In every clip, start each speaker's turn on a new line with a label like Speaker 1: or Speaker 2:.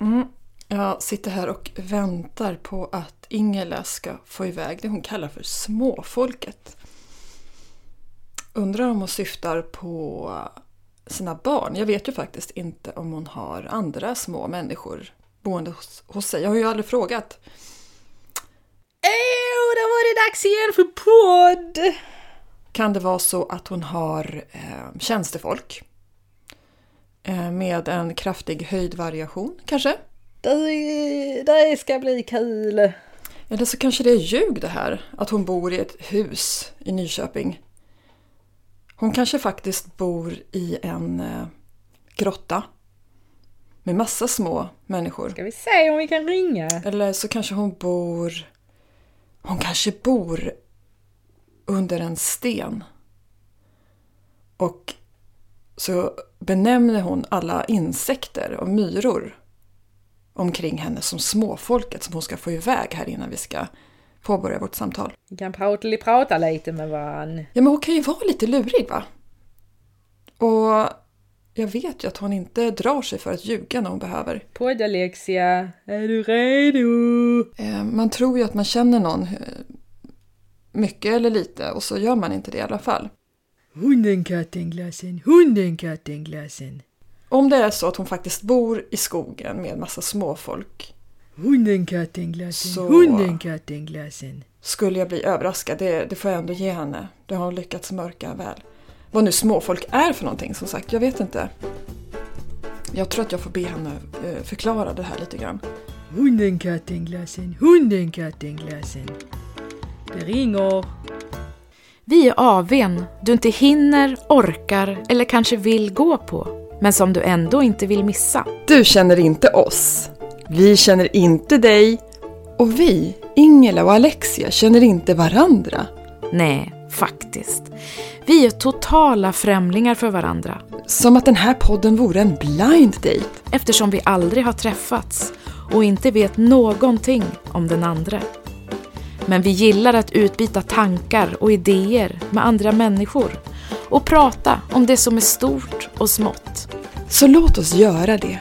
Speaker 1: Mm. Jag sitter här och väntar på att Ingela ska få iväg det hon kallar för småfolket. Undrar om hon syftar på sina barn. Jag vet ju faktiskt inte om hon har andra små människor boende hos, hos sig. Jag har ju aldrig frågat.
Speaker 2: Ew, det var det dags igen för podd!
Speaker 1: Kan det vara så att hon har eh, tjänstefolk? Eh, med en kraftig höjdvariation kanske?
Speaker 2: Det, det ska bli kul!
Speaker 1: Eller så kanske det är ljug det här, att hon bor i ett hus i Nyköping. Hon kanske faktiskt bor i en eh, grotta med massa små människor.
Speaker 2: Ska vi se om vi kan ringa?
Speaker 1: Eller så kanske hon bor... Hon kanske bor under en sten. Och så benämner hon alla insekter och myror omkring henne som småfolket som hon ska få iväg här innan vi ska påbörja vårt samtal.
Speaker 2: Vi kan prata, prata lite med varann.
Speaker 1: Ja, men hon kan ju vara lite lurig va? Och jag vet ju att hon inte drar sig för att ljuga när hon behöver.
Speaker 2: Poddalexia, är du redo?
Speaker 1: Eh, Man tror ju att man känner någon eh, mycket eller lite och så gör man inte det i alla fall.
Speaker 2: Hunden, katten, glassen, hunden, katten, glassen.
Speaker 1: Om det är så att hon faktiskt bor i skogen med massa småfolk
Speaker 2: Hunden, katten, glassen,
Speaker 1: Så.
Speaker 2: katten, glassen.
Speaker 1: skulle jag bli överraskad. Det, det får jag ändå ge henne. Det har hon lyckats mörka väl. Vad nu småfolk är för någonting som sagt, jag vet inte. Jag tror att jag får be henne eh, förklara det här lite grann.
Speaker 2: Hunden, katten, glassen, hunden, katten, glassen. Det ringer.
Speaker 3: Vi är AWn du inte hinner, orkar eller kanske vill gå på, men som du ändå inte vill missa.
Speaker 1: Du känner inte oss. Vi känner inte dig. Och vi, Ingela och Alexia, känner inte varandra.
Speaker 3: Nej, faktiskt. Vi är totala främlingar för varandra,
Speaker 1: Som att den här podden vore en blind date.
Speaker 3: eftersom vi aldrig har träffats och inte vet någonting om den andra. Men vi gillar att utbyta tankar och idéer med andra människor och prata om det som är stort och smått.
Speaker 1: Så låt oss göra det.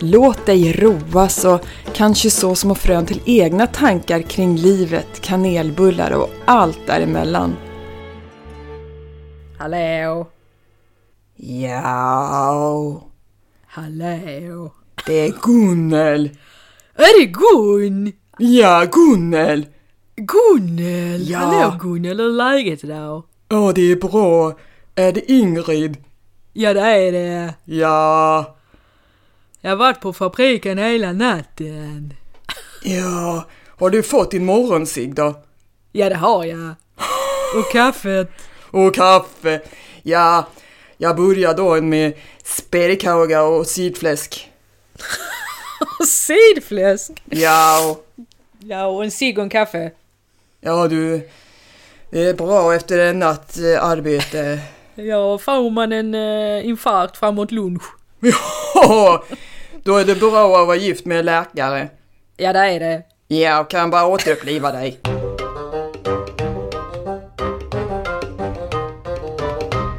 Speaker 1: Låt dig roas och kanske så små frön till egna tankar kring livet, kanelbullar och allt däremellan.
Speaker 2: Hallå?
Speaker 1: Ja,
Speaker 2: Hallå?
Speaker 1: det är Gunnel.
Speaker 2: Är det Gun?
Speaker 1: Ja, Gunnel.
Speaker 2: Gunnel?
Speaker 1: Ja.
Speaker 2: Hallå Gunnel, hur är läget idag?
Speaker 1: Ja, det är bra. Är det Ingrid?
Speaker 2: Ja det är det.
Speaker 1: Ja.
Speaker 2: Jag har varit på fabriken hela natten.
Speaker 1: Ja. Har du fått din morgonsigg då?
Speaker 2: Ja det har jag. Och kaffet.
Speaker 1: Och kaffe. Ja, jag börjar dagen med spädkaga och sidfläsk.
Speaker 2: Och sidfläsk.
Speaker 1: Ja.
Speaker 2: Ja och en cigg och en kaffe.
Speaker 1: Ja du, det är bra efter en natt eh, arbete.
Speaker 2: Ja, får man en eh, infarkt framåt lunch?
Speaker 1: Ja, då är det bra att vara gift med en läkare.
Speaker 2: Ja det är det.
Speaker 1: Ja, och kan bara återuppliva dig.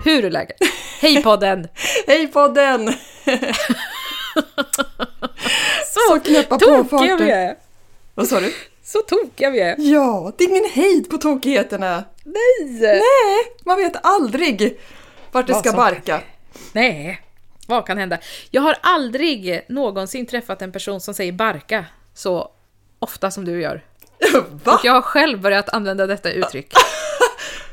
Speaker 2: Hur är läget? Hej podden!
Speaker 1: Hej podden! Så knäppa på
Speaker 2: Tokiga vi
Speaker 1: farten.
Speaker 2: är!
Speaker 1: Vad sa du?
Speaker 2: Så tokiga vi är!
Speaker 1: Ja, det är ingen hejd på tokigheterna.
Speaker 2: Nej!
Speaker 1: Nej, man vet aldrig vart det
Speaker 2: Vad
Speaker 1: ska
Speaker 2: som-
Speaker 1: barka.
Speaker 2: Nej, vad kan hända? Jag har aldrig någonsin träffat en person som säger barka så ofta som du gör.
Speaker 1: Va?
Speaker 2: Och jag har själv börjat använda detta uttryck.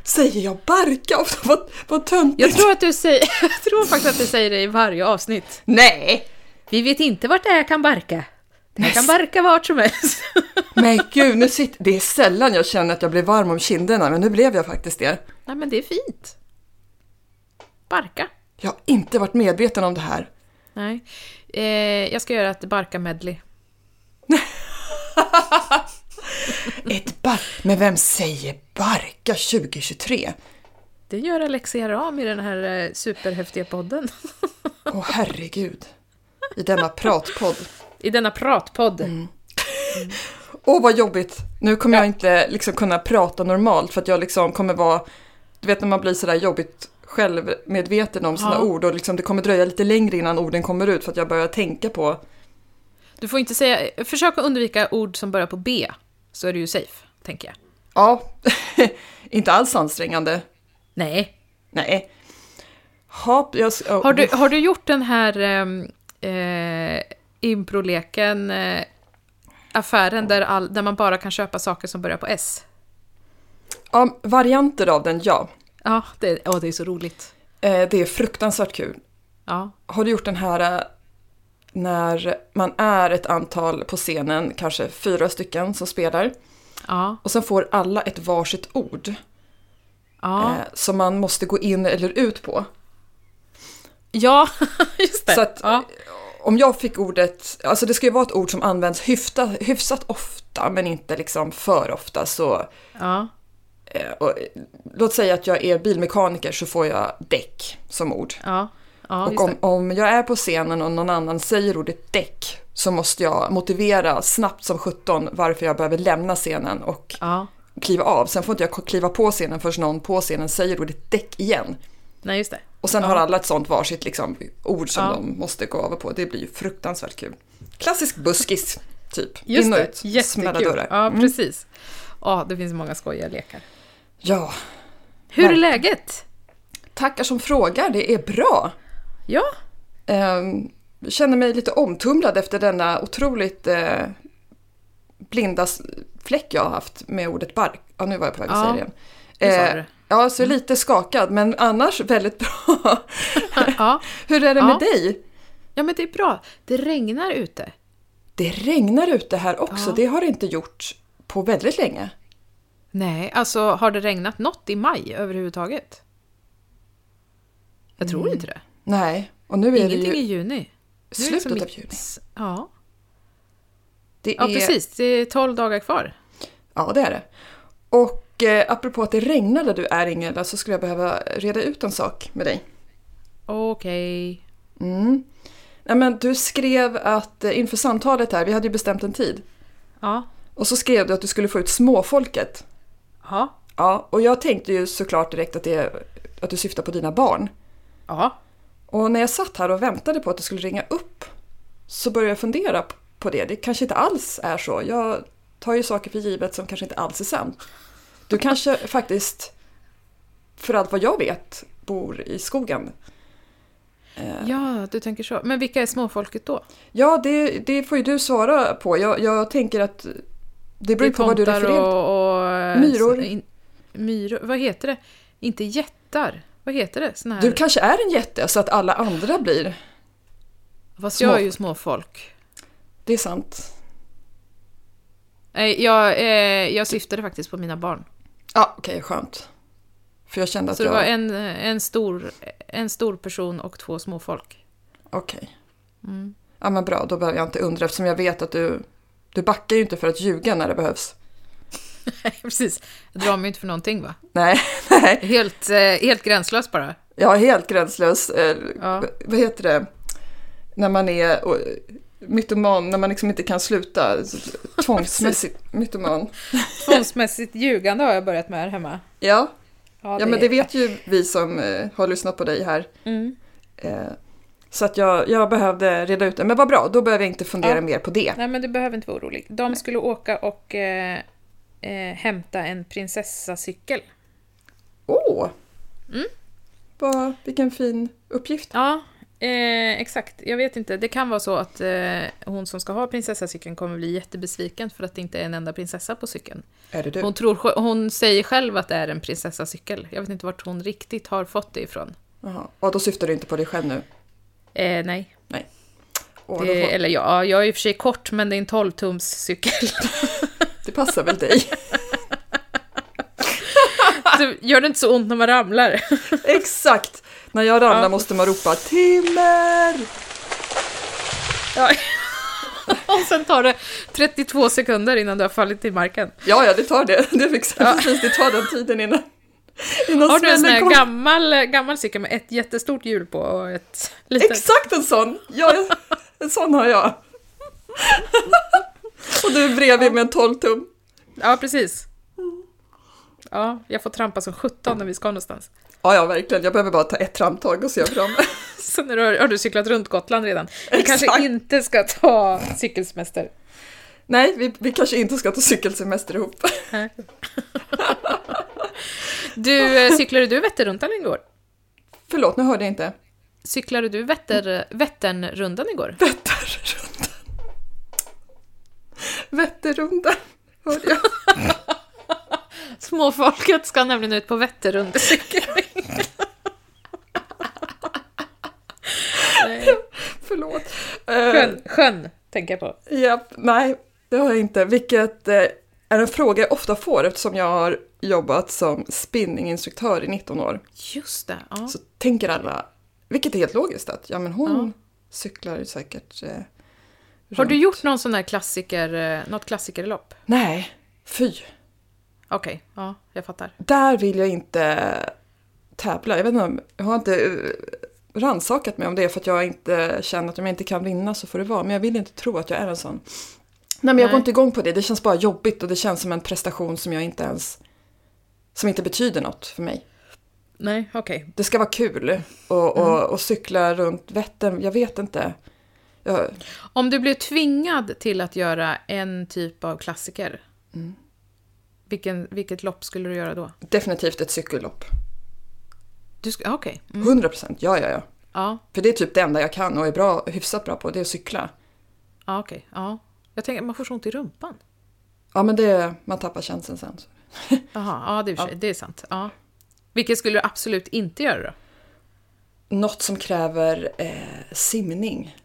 Speaker 1: Säger jag barka? Vad, vad töntigt.
Speaker 2: Jag tror, att du säger, jag tror faktiskt att du säger det i varje avsnitt.
Speaker 1: Nej!
Speaker 2: Vi vet inte vart det här kan barka. Det här
Speaker 1: Nej,
Speaker 2: kan
Speaker 1: s-
Speaker 2: barka vart som helst.
Speaker 1: Men gud, nu sitter... det är sällan jag känner att jag blir varm om kinderna, men nu blev jag faktiskt det.
Speaker 2: Nej men det är fint. Barka.
Speaker 1: Jag har inte varit medveten om det här.
Speaker 2: Nej. Eh, jag ska göra ett barka-medley.
Speaker 1: Ett bar... Men vem säger barka 2023?
Speaker 2: Det gör Alexia Ram i den här eh, superhäftiga podden.
Speaker 1: Åh herregud. I denna pratpodd.
Speaker 2: I denna pratpodd.
Speaker 1: Åh vad jobbigt. Nu kommer jag inte liksom kunna prata normalt för att jag liksom kommer vara... Du vet när man blir sådär jobbigt självmedveten om sina
Speaker 2: Ja.
Speaker 1: ord och liksom det kommer dröja lite längre innan orden kommer ut för att jag börjar tänka på
Speaker 2: Du får inte säga... Försök att undvika ord som börjar på B, så är du ju safe, tänker jag.
Speaker 1: Ja, inte alls ansträngande.
Speaker 2: Nej.
Speaker 1: Nej. Hopp, jag, s- ja,
Speaker 2: Har du, har du gjort den här ehm, eh, improleken, eh, affären där, all, där man bara kan köpa saker som börjar på S?
Speaker 1: ja, varianter av den, ja.
Speaker 2: Ja, det, åh, det är så roligt.
Speaker 1: Eh, Det är fruktansvärt kul.
Speaker 2: Ja.
Speaker 1: Har du gjort den här eh, när man är ett antal på scenen, kanske fyra stycken som spelar,
Speaker 2: Ja,
Speaker 1: och sen får alla ett varsitt ord
Speaker 2: ja.
Speaker 1: eh, som man måste gå in eller ut på.
Speaker 2: ja, just det.
Speaker 1: Så att,
Speaker 2: ja.
Speaker 1: Om jag fick ordet, alltså det ska ju vara ett ord som används hyfta, hyfsat ofta men inte liksom för ofta så,
Speaker 2: Ja.
Speaker 1: eh, och, eh, låt säga att jag är bilmekaniker så får jag däck som ord.
Speaker 2: Ja, ja
Speaker 1: Och
Speaker 2: just
Speaker 1: om,
Speaker 2: det.
Speaker 1: om jag är på scenen och någon annan säger ordet däck så måste jag motivera snabbt som sjutton varför jag behöver lämna scenen och
Speaker 2: Ja.
Speaker 1: kliva av. Sen får inte jag kliva på scenen förrän någon på scenen säger ordet däck igen.
Speaker 2: Nej, just det.
Speaker 1: Och sen har alla ett sånt varsitt liksom, ord som
Speaker 2: Ja.
Speaker 1: de måste gå över på. Det blir ju fruktansvärt kul. Klassisk buskis, typ.
Speaker 2: Just
Speaker 1: In och
Speaker 2: det.
Speaker 1: ut, smälla
Speaker 2: Jättekul.
Speaker 1: dörrar.
Speaker 2: Ja,
Speaker 1: Mm.
Speaker 2: precis. Ja, det finns många skojiga lekar.
Speaker 1: Ja,
Speaker 2: Hur är
Speaker 1: Verkligen.
Speaker 2: läget?
Speaker 1: tackar som frågar, det är bra.
Speaker 2: Ja,
Speaker 1: Ehm, Jag känner mig lite omtumlad efter denna otroligt eh, blinda s- fläck jag har haft med ordet bark. Ja, nu var jag på väg att
Speaker 2: Ja,
Speaker 1: säga det igen.
Speaker 2: det sa du. Mm.
Speaker 1: Eh, ja, så lite skakad, men annars väldigt bra.
Speaker 2: ja.
Speaker 1: Hur är det
Speaker 2: Ja.
Speaker 1: med dig?
Speaker 2: ja, men det är bra. Det regnar ute.
Speaker 1: Det regnar ute här också,
Speaker 2: Ja.
Speaker 1: det har det inte gjort på väldigt länge.
Speaker 2: Nej, alltså har det regnat något i maj överhuvudtaget? Jag tror inte det.
Speaker 1: Nej, och Mm. nu är
Speaker 2: Ingenting
Speaker 1: det
Speaker 2: i
Speaker 1: ju
Speaker 2: juni. Nu är det
Speaker 1: slutet
Speaker 2: liksom
Speaker 1: av
Speaker 2: mitt-
Speaker 1: juni.
Speaker 2: Ja.
Speaker 1: Det
Speaker 2: ja,
Speaker 1: är,
Speaker 2: precis. Det är 12 dagar kvar.
Speaker 1: Ja, det är det. Och eh, apropå att det regnar där du är Ingela så skulle jag behöva reda ut en sak med dig.
Speaker 2: Okej.
Speaker 1: Mm. Nej, men du skrev att eh, inför samtalet här, vi hade ju bestämt en tid,
Speaker 2: Ja.
Speaker 1: och så skrev du att du skulle få ut småfolket.
Speaker 2: Ja.
Speaker 1: Ja, och jag tänkte ju såklart direkt att, det, att du syftar på dina barn.
Speaker 2: Ja.
Speaker 1: Och när jag satt här och väntade på att du skulle ringa upp så började jag fundera p- på det. Det kanske inte alls är så. Jag tar ju saker för givet som kanske inte alls är sant. Du kanske faktiskt, för allt vad jag vet, bor i skogen.
Speaker 2: Ja, du tänker så. Men vilka är småfolket då?
Speaker 1: Ja, det, det får ju du svara på. Jag, jag tänker att det beror
Speaker 2: Det är
Speaker 1: ju på vad du
Speaker 2: tomtar
Speaker 1: refererar
Speaker 2: och, och...
Speaker 1: Myror.
Speaker 2: In, myror. Vad heter det? Inte jättar. Vad heter det? Såna här...
Speaker 1: Du kanske är en jätte så att alla andra blir.
Speaker 2: Fast jag är ju småfolk.
Speaker 1: Det är sant.
Speaker 2: Nej, jag, eh, jag syftade faktiskt på mina barn.
Speaker 1: Ja, okej, skönt. För jag kände att
Speaker 2: Så det
Speaker 1: jag...
Speaker 2: var en, eh, en, stor, en stor person och två småfolk.
Speaker 1: Okej.
Speaker 2: Mm.
Speaker 1: Ja, men bra, då behöver jag inte undra eftersom jag vet att du... Du backar ju inte för att ljuga när det behövs.
Speaker 2: Nej, precis. Jag drar mig inte för någonting va?
Speaker 1: Nej, nej.
Speaker 2: Helt, eh, helt gränslös bara.
Speaker 1: Jag är helt gränslös. eh,
Speaker 2: Ja.
Speaker 1: v- Vad heter det? När man är och, eh, mytoman, när man liksom inte kan sluta. så- Tvångsmässigt mytoman.
Speaker 2: Tvångsmässigt ljugande har jag börjat med här hemma.
Speaker 1: Ja,
Speaker 2: Ja,
Speaker 1: ja men det vet ju vi som eh, har lyssnat på dig här.
Speaker 2: Mm.
Speaker 1: Eh, så att jag, jag behövde reda ut det. Men vad bra, då behöver jag inte fundera
Speaker 2: Ja.
Speaker 1: mer på det.
Speaker 2: Nej, men du behöver inte vara orolig. De skulle åka och eh, eh, hämta en prinsessacykel.
Speaker 1: Åh!
Speaker 2: Mm.
Speaker 1: Vad, vilken fin uppgift.
Speaker 2: Ja, eh, exakt. Jag vet inte. Det kan vara så att eh, hon som ska ha prinsessacykeln kommer bli jättebesviken för att det inte är en enda prinsessa på cykeln.
Speaker 1: Är det du?
Speaker 2: Hon, tror, sj- hon säger själv att det är en prinsessacykel. Jag vet inte vart hon riktigt har fått det ifrån.
Speaker 1: Jaha, och då syftar du inte på dig själv nu?
Speaker 2: Eh, nej.
Speaker 1: Nej. Åh,
Speaker 2: Det,
Speaker 1: det, får,
Speaker 2: Eller ja, jag är i och för sig kort, men det är en 12-tums cykel.
Speaker 1: det passar väl dig?
Speaker 2: Så gör det inte så ont när man ramlar.
Speaker 1: Exakt! När jag ramlar måste man ropa timmer!
Speaker 2: Ja. Och sen tar det 32 sekunder innan du har fallit till marken.
Speaker 1: Ja, ja, det tar det. Det fixar precis. Det tar den tiden innan, innan
Speaker 2: Har du en sån
Speaker 1: smällen
Speaker 2: här
Speaker 1: kommer.
Speaker 2: gammal, eh, gammal cykel med ett jättestort hjul på och ett litet?
Speaker 1: Exakt en sån! Ja, jag- en sån har jag. Och du är bredvid med en 12 tum.
Speaker 2: Ja, precis. Ja, jag får trampa som sjutton när vi ska någonstans.
Speaker 1: Ja, ja, verkligen. Jag behöver bara ta ett framtag och se fram.
Speaker 2: Så när du har, har du cyklat runt Gotland redan. Vi
Speaker 1: Exakt.
Speaker 2: kanske inte ska ta cykelsemester.
Speaker 1: Nej, vi, vi kanske inte ska ta cykelsemester ihop.
Speaker 2: Du, eh, cyklade du Vätternrundan igår?
Speaker 1: Förlåt, nu hörde jag inte.
Speaker 2: Cyklade du Vätter, Vätternrundan igår?
Speaker 1: Vätterrundan. Vätterrundan, hörde jag.
Speaker 2: Småfolket ska nämligen ut på Vätternrundcykel. Nej,
Speaker 1: Förlåt. Eh,
Speaker 2: sjön, sjön tänker jag på.
Speaker 1: Japp, nej, det har jag inte. Vilket eh, är en fråga jag ofta får eftersom jag har jobbat som spinninginstruktör i 19 år.
Speaker 2: Just det. Ja.
Speaker 1: Så tänker alla, vilket är helt logiskt, att ja men hon
Speaker 2: Ja.
Speaker 1: cyklar säkert eh,
Speaker 2: Har
Speaker 1: runt.
Speaker 2: du gjort någon sån här klassiker, eh, något klassikerlopp?
Speaker 1: Nej, fy.
Speaker 2: Okej, ja, jag fattar.
Speaker 1: Där vill jag inte tävla. Jag vet inte, om- jag har inte eh, ransakat mig om det för att jag inte känner att om jag inte kan vinna så får det vara. Men jag vill inte tro att jag är en sån. Nej men jag
Speaker 2: Nej.
Speaker 1: går inte igång på det. Det känns bara jobbigt och det känns som en prestation som jag inte ens... Som inte betyder något för mig.
Speaker 2: Nej, okej.
Speaker 1: Det ska vara kul och, och,
Speaker 2: Mm.
Speaker 1: och cykla runt Vättern. Jag vet inte. Jag,
Speaker 2: Om du blev tvingad till att göra en typ av klassiker, Mm. vilken, vilket lopp skulle du göra då?
Speaker 1: definitivt ett cykellopp.
Speaker 2: Du sk- ah, Okej. Mm.
Speaker 1: 100 procent, ja ja ja.
Speaker 2: Ja,
Speaker 1: För det är typ det enda jag kan och är bra, hyfsat bra på, det är att cykla.
Speaker 2: ja okej. Ja. Jag tänker, man får så ont i rumpan.
Speaker 1: Ja men det, man tappar känslan sen.
Speaker 2: Jaha, ja, det, är i och för sig- det är sant. Ja. Vilket skulle du absolut inte göra då?
Speaker 1: Något som kräver eh, simning,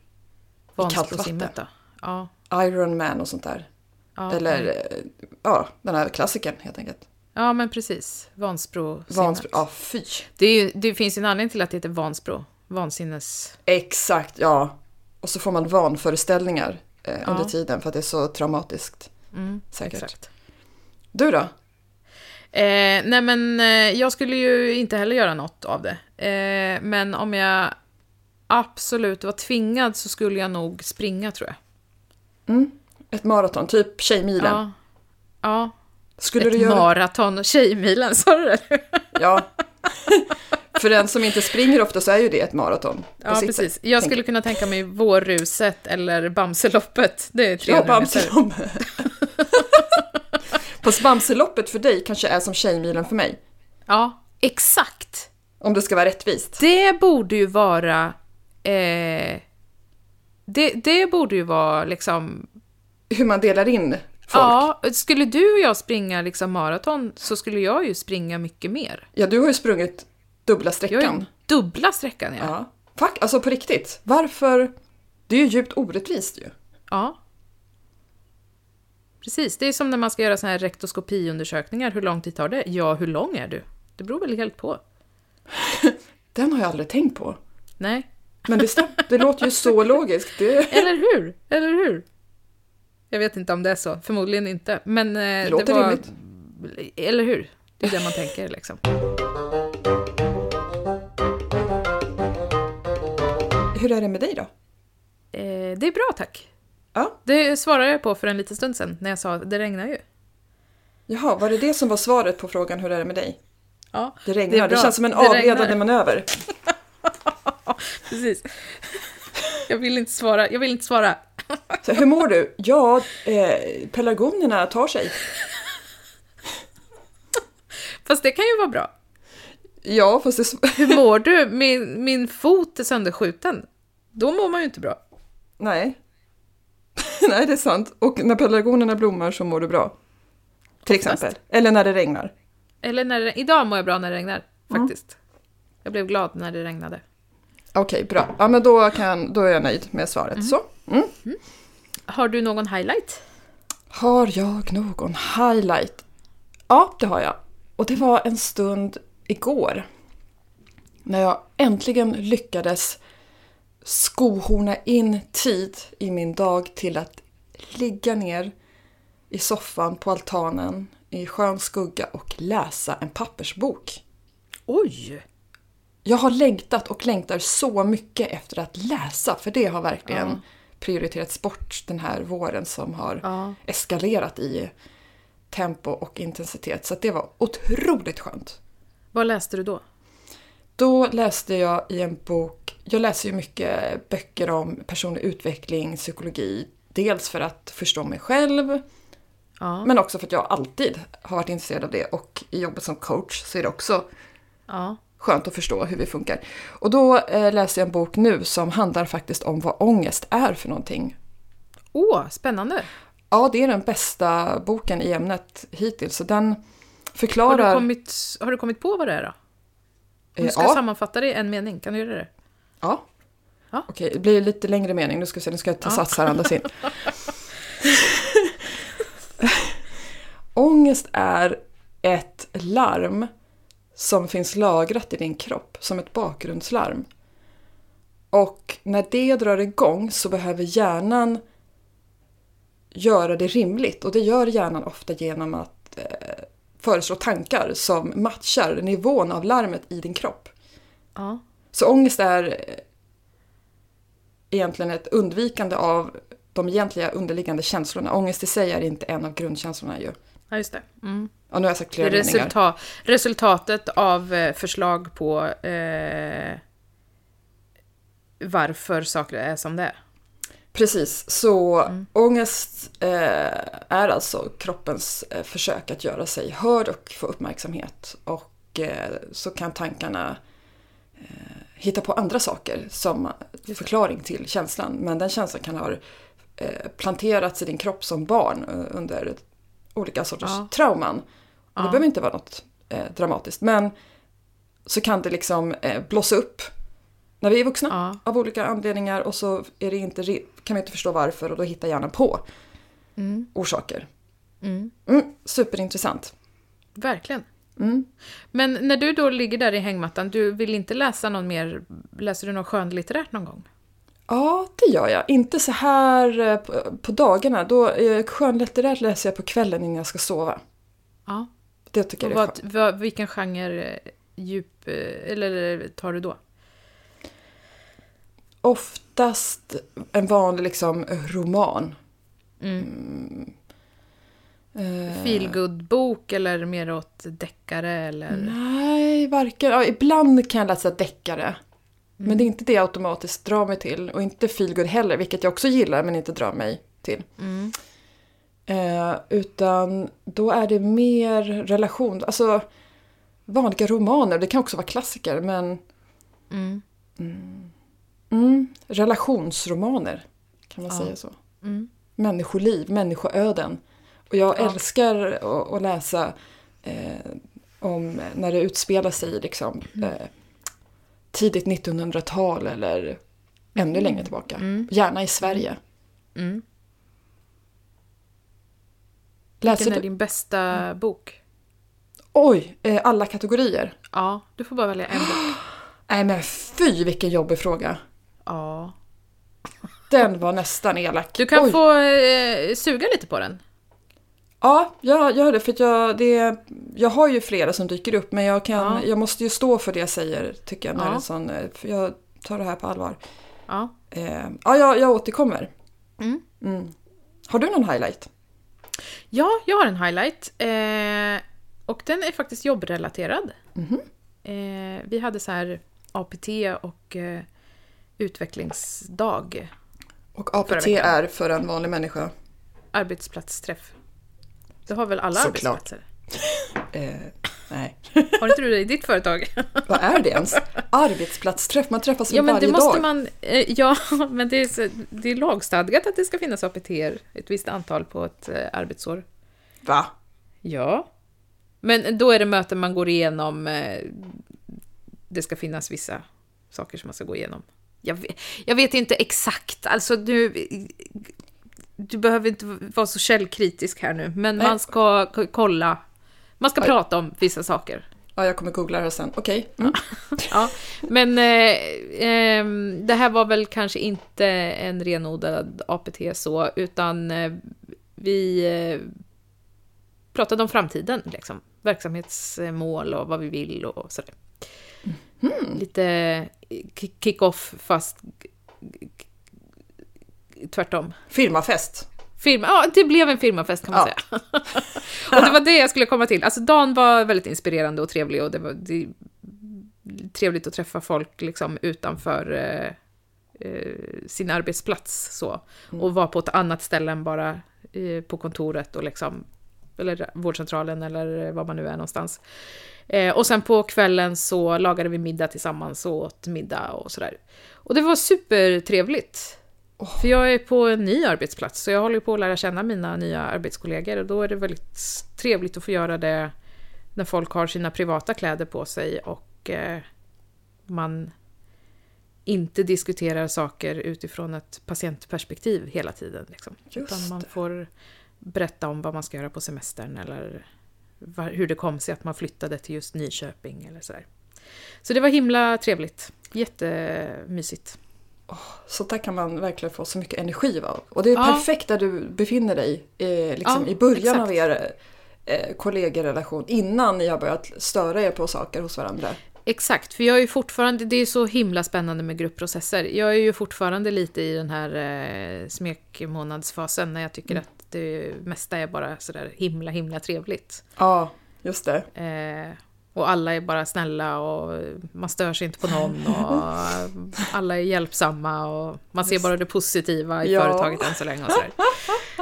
Speaker 1: kallt vatten.
Speaker 2: Vansbrosimmet då? Ja.
Speaker 1: Ironman och sånt där.
Speaker 2: ja
Speaker 1: Eller
Speaker 2: nej.
Speaker 1: eh, ja, den här klassikern helt enkelt.
Speaker 2: Ja, men precis. Vansbrosimmet.
Speaker 1: Vansbro, ja fy.
Speaker 2: Det, är ju, det finns ju en anledning till att det heter Vansbro. Vansinnes...
Speaker 1: Exakt, ja. Och så får man vanföreställningar eh,
Speaker 2: Ja.
Speaker 1: under tiden för att det är så traumatiskt.
Speaker 2: Mm,
Speaker 1: Säkert.
Speaker 2: Exakt.
Speaker 1: Du då?
Speaker 2: Eh, nej men eh, jag skulle ju inte heller göra något av det. Eh, men om jag absolut var tvingad så skulle jag nog springa tror jag.
Speaker 1: Ett maraton, typ Tjejmilen.
Speaker 2: Ja. Ja.
Speaker 1: Skulle du
Speaker 2: Ett
Speaker 1: göra...
Speaker 2: maraton och Tjejmilen, sa du det?
Speaker 1: Ja. För den som inte springer ofta så är ju det ett maraton. på
Speaker 2: Ja,
Speaker 1: sitt
Speaker 2: precis.
Speaker 1: sätt,
Speaker 2: Jag
Speaker 1: tänker
Speaker 2: skulle kunna tänka mig Vårruset eller Bamseloppet. Det är
Speaker 1: Ja,
Speaker 2: 300 meter.
Speaker 1: Bamselopp. Fast Bamseloppet för dig kanske är som Tjejmilen för mig.
Speaker 2: Ja, exakt.
Speaker 1: Om det ska vara rättvist.
Speaker 2: Det borde ju vara... Eh, det, det borde ju vara liksom
Speaker 1: Hur man delar in folk.
Speaker 2: Ja, skulle du och jag springa liksom maraton så skulle jag ju springa mycket mer.
Speaker 1: Ja, du har ju sprungit dubbla
Speaker 2: Jag är ju
Speaker 1: sträckan.
Speaker 2: dubbla sträckan. Ja.
Speaker 1: Ja. Fuck, alltså på riktigt. Varför? Det är ju djupt orättvist ju.
Speaker 2: Ja. Precis, det är som när man ska göra såna här rektoskopiundersökningar. Hur lång tid tar det? Ja, hur lång är du? Det beror väl helt på.
Speaker 1: Den har jag aldrig tänkt på.
Speaker 2: Nej,
Speaker 1: Men det, stäm- det låter ju så logiskt. Det,
Speaker 2: eller hur? Eller hur? Jag vet inte om det är så. Förmodligen inte. Men eh, det,
Speaker 1: låter
Speaker 2: var...
Speaker 1: rimligt.
Speaker 2: Eller hur? Det är det man tänker liksom.
Speaker 1: Hur är det med dig då?
Speaker 2: Eh, det är bra tack.
Speaker 1: Ja.
Speaker 2: Det svarade jag på för en liten stund sedan när jag sa det regnar ju.
Speaker 1: Jaha, var det det som var svaret på frågan hur är det med dig?
Speaker 2: Ja,
Speaker 1: Det
Speaker 2: Det är
Speaker 1: regnar, det,
Speaker 2: bra.
Speaker 1: känns som en
Speaker 2: Det regnar.
Speaker 1: avledande manöver.
Speaker 2: Precis. Jag vill inte svara. Jag vill inte svara.
Speaker 1: Så, hur mår du? Ja, eh, pelargonerna tar sig.
Speaker 2: Fast det kan ju vara bra.
Speaker 1: Ja, fast det...
Speaker 2: Hur mår du? Min, min fot är sönderskjuten. Då mår man ju inte bra.
Speaker 1: Nej. Nej, det är sant. Och när pelargonerna blommar så mår du bra. Till
Speaker 2: Oftast.
Speaker 1: exempel. Eller när det regnar.
Speaker 2: Eller när det, idag mår jag bra när det regnar, faktiskt. Jag blev glad när det regnade.
Speaker 1: Okej, bra. Ja, men då, kan, då är jag nöjd med svaret. Så. Mm.
Speaker 2: Har du någon highlight?
Speaker 1: Har jag någon highlight? Ja, det har jag. Och det var en stund igår. När jag äntligen lyckades skohorna in tid i min dag till att ligga ner i soffan på altanen i skön skugga och läsa en pappersbok.
Speaker 2: Oj!
Speaker 1: Jag har längtat och längtar så mycket efter att läsa, för det har verkligen prioriterats bort den här våren som har
Speaker 2: Ja.
Speaker 1: eskalerat i tempo och intensitet. Så att det var otroligt skönt.
Speaker 2: Vad läste du då?
Speaker 1: Då läste jag i en bok, jag läser ju mycket böcker om personlig utveckling, psykologi. Dels för att förstå mig själv,
Speaker 2: Ja.
Speaker 1: men också för att jag alltid har varit intresserad av det. Och i jobbet som coach så är det också
Speaker 2: ja.
Speaker 1: skönt att förstå hur vi funkar. Och då eh, läser jag en bok nu som handlar faktiskt om vad ångest är för någonting.
Speaker 2: Åh, spännande!
Speaker 1: Ja, det är den bästa boken i ämnet hittills. Så den
Speaker 2: Har du,
Speaker 1: förklarar...
Speaker 2: kommit, har du kommit på vad det är då? Om
Speaker 1: eh,
Speaker 2: du ska
Speaker 1: ja,
Speaker 2: sammanfatta det i en mening, kan du göra det?
Speaker 1: ja.
Speaker 2: Ja.
Speaker 1: Okej, det blir lite längre mening. Nu ska, vi se, nu ska jag ta sats här och andas in. Ångest är ett larm som finns lagrat i din kropp som ett bakgrundslarm. Och när det drar igång så behöver hjärnan göra det rimligt och det gör hjärnan ofta genom att eh, föreslå tankar som matchar nivån av larmet i din kropp.
Speaker 2: Ja.
Speaker 1: Så ångest är eh, egentligen ett undvikande av de egentliga underliggande känslorna. Ångest i sig är inte en av grundkänslorna ju.
Speaker 2: Ja, just det. Mm.
Speaker 1: Ja, nu har jag sagt
Speaker 2: Det är
Speaker 1: flera meningar.
Speaker 2: resulta resultatet av eh, förslag på eh, varför saker är som det är.
Speaker 1: Precis, så
Speaker 2: Mm.
Speaker 1: ångest eh, är alltså kroppens eh, försök att göra sig hörd och få uppmärksamhet. Och eh, så kan tankarna eh, hitta på andra saker som förklaring till känslan. Men den känslan kan ha eh, planterats i din kropp som barn eh, under olika sorters
Speaker 2: Ja.
Speaker 1: trauman. Och
Speaker 2: Ja.
Speaker 1: det behöver inte vara något eh, dramatiskt. Men så kan det liksom eh, blossa upp när vi är vuxna
Speaker 2: Ja.
Speaker 1: av olika anledningar och så är det inte, re- kan vi inte förstå varför och då hittar hjärnan på
Speaker 2: Mm.
Speaker 1: orsaker.
Speaker 2: Mm.
Speaker 1: Mm, superintressant.
Speaker 2: Verkligen.
Speaker 1: Mm.
Speaker 2: Men när du då ligger där i hängmattan, du vill inte läsa någon mer, läser du något skönlitterärt någon gång?
Speaker 1: Ja, det gör jag. Inte så här eh, på, på dagarna. Då, eh, skönlitterärt läser jag på kvällen innan jag ska sova.
Speaker 2: Ja.
Speaker 1: Det tycker
Speaker 2: Och
Speaker 1: jag är skönt.
Speaker 2: vad, vad, vilken genre eh, djup, eh, eller tar du då?
Speaker 1: Oftast en vanlig liksom, roman.
Speaker 2: Mm.
Speaker 1: Eh,
Speaker 2: Feelgood-bok eller mer åt deckare eller?
Speaker 1: Mm. Nej, varken. Ja, ibland kan jag läsa deckare.
Speaker 2: Mm.
Speaker 1: Men det är inte det jag automatiskt drar mig till. Och inte feelgood heller, vilket jag också gillar men inte drar mig till.
Speaker 2: Mm.
Speaker 1: Eh, utan då är det mer relation, alltså vanliga romaner, det kan också vara klassiker, men
Speaker 2: Mm.
Speaker 1: mm, relationsromaner kan man
Speaker 2: Ja.
Speaker 1: säga så.
Speaker 2: Mm.
Speaker 1: Människoliv, människoöden. Och jag
Speaker 2: Ja.
Speaker 1: älskar att, att läsa eh, om när det utspelar sig i liksom,
Speaker 2: Mm.
Speaker 1: eh, tidigt 1900-tal eller ännu längre tillbaka.
Speaker 2: Mm.
Speaker 1: Gärna i Sverige.
Speaker 2: Mm.
Speaker 1: Läser
Speaker 2: Vilken är
Speaker 1: du?
Speaker 2: din bästa bok?
Speaker 1: Oj, eh, alla kategorier.
Speaker 2: Ja, du får bara välja en bok.
Speaker 1: Nej men fy vilken jobbig fråga.
Speaker 2: Ja.
Speaker 1: Den var nästan elak.
Speaker 2: Du kan
Speaker 1: Oj.
Speaker 2: få eh, suga lite på den.
Speaker 1: Ja, jag gör det för att jag, det, jag har ju flera som dyker upp men jag, kan,
Speaker 2: Ja.
Speaker 1: jag måste ju stå för det jag säger tycker jag. När
Speaker 2: Ja.
Speaker 1: en sån, eh, för jag tar det här på allvar.
Speaker 2: Ja.
Speaker 1: Eh, ja, jag, jag återkommer.
Speaker 2: Mm.
Speaker 1: Mm. Har du någon highlight?
Speaker 2: Ja, jag har en highlight. Eh, och den är faktiskt jobbrelaterad.
Speaker 1: Mhm.
Speaker 2: Eh, vi hade så här APT och eh, utvecklingsdag,
Speaker 1: Och APT
Speaker 2: veckan.
Speaker 1: är för en vanlig människa?
Speaker 2: arbetsplatsträff. Det har väl alla
Speaker 1: Såklart.
Speaker 2: arbetsplatser?
Speaker 1: Eh, nej.
Speaker 2: Har inte du det i ditt företag?
Speaker 1: Vad är det ens? Arbetsplatsträff, man träffas väl
Speaker 2: ja, men
Speaker 1: varje
Speaker 2: det måste
Speaker 1: dag?
Speaker 2: man... Eh, ja, men det är, så- det är lagstadgat att det ska finnas APT, ett visst antal på ett eh, arbetsår.
Speaker 1: Va?
Speaker 2: Ja. Men då är det möten man går igenom. eh, Det ska finnas vissa saker som man ska gå igenom. Jag vet, jag vet inte exakt, alltså du... Du behöver inte vara så källkritisk här nu, men
Speaker 1: Nej.
Speaker 2: man ska k- kolla. Man ska
Speaker 1: Oj.
Speaker 2: prata om vissa saker.
Speaker 1: Ja, jag kommer googla det här sen. Okej. Mm.
Speaker 2: Ja. Men eh, ehm, det här var väl kanske inte en renodlad APT så, utan eh, vi eh, pratade om framtiden, liksom. verksamhetsmål och vad vi vill och sådär. Lite eh, ki- kick-off fast g- g- g- tvärtom.
Speaker 1: Firmafest.
Speaker 2: Firma, ja, det blev en firmafest kan man
Speaker 1: Ja.
Speaker 2: säga. och det var det jag skulle komma till. Alltså Dan var väldigt inspirerande och trevlig och det var det, trevligt att träffa folk liksom utanför eh, eh, sin arbetsplats så. Och vara på ett annat ställe än bara eh, på kontoret och liksom, eller vårdcentralen eller var man nu är någonstans. Eh, och sen på kvällen så lagade vi middag tillsammans och åt middag och sådär. Och det var supertrevligt. För jag är på en ny arbetsplats, så jag håller ju på att lära känna mina nya arbetskollegor. Och då är det väldigt trevligt att få göra det när folk har sina privata kläder på sig och eh, man inte diskuterar saker utifrån ett patientperspektiv hela tiden. Liksom.
Speaker 1: Just
Speaker 2: Utan man
Speaker 1: det.
Speaker 2: får berätta om vad man ska göra på semestern eller var, hur det kom sig att man flyttade till just Nyköping eller sådär. Så det var himla trevligt. Jättemysigt.
Speaker 1: Sånt där kan man verkligen få så mycket energi av. Och det är
Speaker 2: Ja.
Speaker 1: perfekt där du befinner dig eh, liksom
Speaker 2: Ja,
Speaker 1: i början
Speaker 2: exakt.
Speaker 1: av er eh, kollegerelation innan ni har börjat störa er på saker hos varandra.
Speaker 2: Exakt, för jag är ju fortfarande, det är så himla spännande med gruppprocesser. Jag är ju fortfarande lite i den här eh, smekmånadsfasen när jag
Speaker 1: Mm.
Speaker 2: tycker att det mesta är bara sådär himla, himla trevligt.
Speaker 1: Ja, just det.
Speaker 2: Eh, och alla är bara snälla och man stör sig inte på någon och alla är hjälpsamma och man ser bara det positiva i
Speaker 1: Ja.
Speaker 2: företaget än så länge och sådär.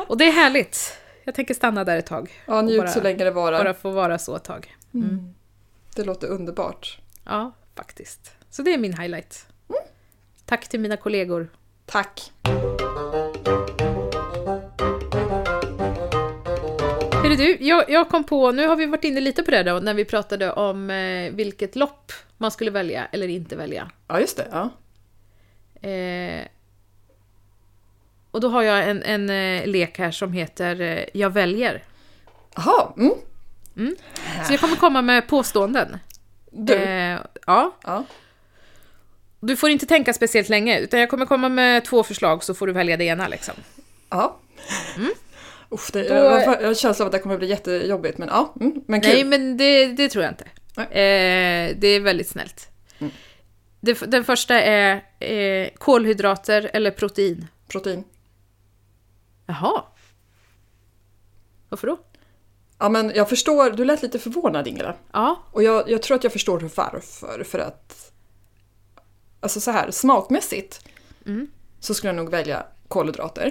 Speaker 2: Och det är härligt. Jag tänker stanna där ett tag.
Speaker 1: Ja, njut
Speaker 2: bara-
Speaker 1: så länge det varar.
Speaker 2: Bara få vara så ett tag.
Speaker 1: Det låter underbart.
Speaker 2: Ja, faktiskt. Så det är min highlight. Tack till mina kollegor.
Speaker 1: Tack!
Speaker 2: Hörru du, jag, jag kom på, nu har vi varit inne lite på det då, när vi pratade om eh, vilket lopp man skulle välja eller inte välja.
Speaker 1: Ja, just det. Ja.
Speaker 2: Eh, och då har jag en, en eh, lek här som heter eh, Jag väljer.
Speaker 1: Aha, mm.
Speaker 2: Så jag kommer komma med påståenden.
Speaker 1: Du.
Speaker 2: Eh, ja.
Speaker 1: Ja.
Speaker 2: Du får inte tänka speciellt länge, utan jag kommer komma med två förslag så får du välja det ena liksom.
Speaker 1: Ja. Uff, det,
Speaker 2: Mm. Då-
Speaker 1: jag har en känsla av att det kommer bli jättejobbigt, men ja. Mm, men kul.
Speaker 2: Nej, men det, det tror jag inte.
Speaker 1: Nej. Mm.
Speaker 2: Eh, det är väldigt snällt. Det f- den första är eh, kolhydrater eller protein.
Speaker 1: Protein.
Speaker 2: Jaha. Varför då?
Speaker 1: Ja, men jag förstår. Du lät lite förvånad, Ingela.
Speaker 2: Ja,
Speaker 1: Och jag, jag tror att jag förstår varför. För att... Alltså så här, smakmässigt
Speaker 2: Mm.
Speaker 1: så skulle jag nog välja kolhydrater.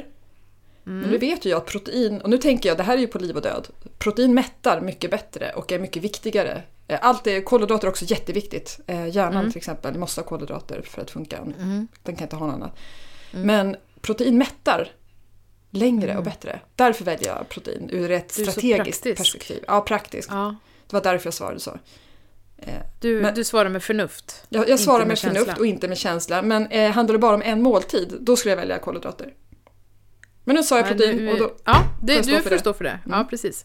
Speaker 2: Mm.
Speaker 1: Men nu vet ju jag att protein, och nu tänker jag, det här är ju på liv och död. Protein mättar mycket bättre och är mycket viktigare. Eh, Allt är, kolhydrater är också jätteviktigt. Eh, Hjärnan
Speaker 2: Mm.
Speaker 1: till exempel måste ha kolhydrater för att funka. Den kan inte ha något annat.
Speaker 2: Mm.
Speaker 1: Men protein mättar längre och bättre. Därför väljer jag protein ur ett
Speaker 2: Du är Mm. så
Speaker 1: strategiskt
Speaker 2: praktisk.
Speaker 1: perspektiv. Ja, praktiskt.
Speaker 2: ja.
Speaker 1: Det var därför jag svarade så.
Speaker 2: Du,
Speaker 1: Men-
Speaker 2: du svarar med förnuft.
Speaker 1: Jag, jag svarar
Speaker 2: Inte
Speaker 1: med,
Speaker 2: med
Speaker 1: förnuft
Speaker 2: känsla.
Speaker 1: och inte med känsla. Men eh, handlar det bara om en måltid, då skulle jag välja kolhydrater. Men nu sa jag
Speaker 2: Men
Speaker 1: protein
Speaker 2: du-
Speaker 1: och då...
Speaker 2: ja, det,
Speaker 1: jag stå för
Speaker 2: du får
Speaker 1: det. Mm.
Speaker 2: stå för det. Ja, precis.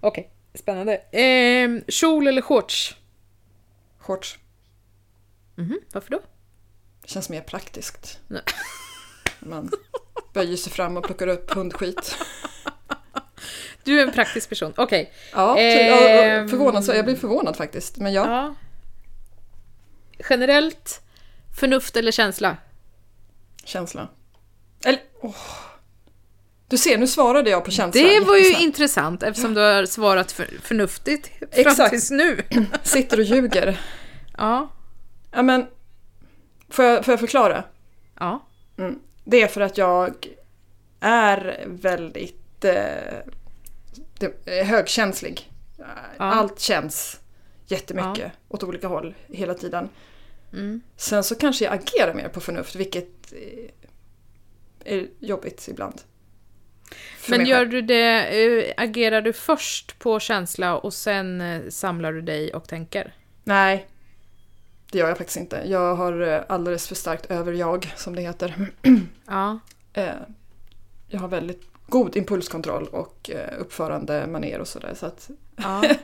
Speaker 2: Okej, spännande. Eh, kjol eller shorts?
Speaker 1: Shorts.
Speaker 2: Mhm, Varför då?
Speaker 1: Känns mer praktiskt.
Speaker 2: Nej.
Speaker 1: Man böjer sig fram och plockar upp hundskit.
Speaker 2: Du är en praktisk person. Okej.
Speaker 1: Ja, så, ja,
Speaker 2: Ehm.
Speaker 1: förvånad, så jag blir förvånad faktiskt. Men ja,
Speaker 2: Ja. Generellt, förnuft eller känsla?
Speaker 1: känsla. Eller... Åh. Du ser, nu svarade jag på känsla.
Speaker 2: Det var ju
Speaker 1: jättesnabbt.
Speaker 2: intressant eftersom du har svarat för, förnuftigt fram
Speaker 1: Exakt.
Speaker 2: tills nu.
Speaker 1: Sitter och ljuger.
Speaker 2: Ja,
Speaker 1: Ja, men... Får jag, får jag förklara?
Speaker 2: ja.
Speaker 1: Mm. Det är för att jag är väldigt eh, det- eh, högkänslig. Allt känns jättemycket åt olika håll hela tiden.
Speaker 2: Mm.
Speaker 1: Sen så kanske jag agerar mer på förnuft, vilket eh, är jobbigt ibland. För
Speaker 2: Men
Speaker 1: mig
Speaker 2: gör
Speaker 1: själv.
Speaker 2: du det, eh, agerar du först på känsla och sen eh, samlar du dig och tänker?
Speaker 1: Nej, det gör jag faktiskt inte. Jag har eh, alldeles för starkt överjag, som det heter.
Speaker 2: Ja.
Speaker 1: Eh, jag har väldigt god impulskontroll och eh, uppförandemanér och sådär. Så att
Speaker 2: ja.
Speaker 1: Varför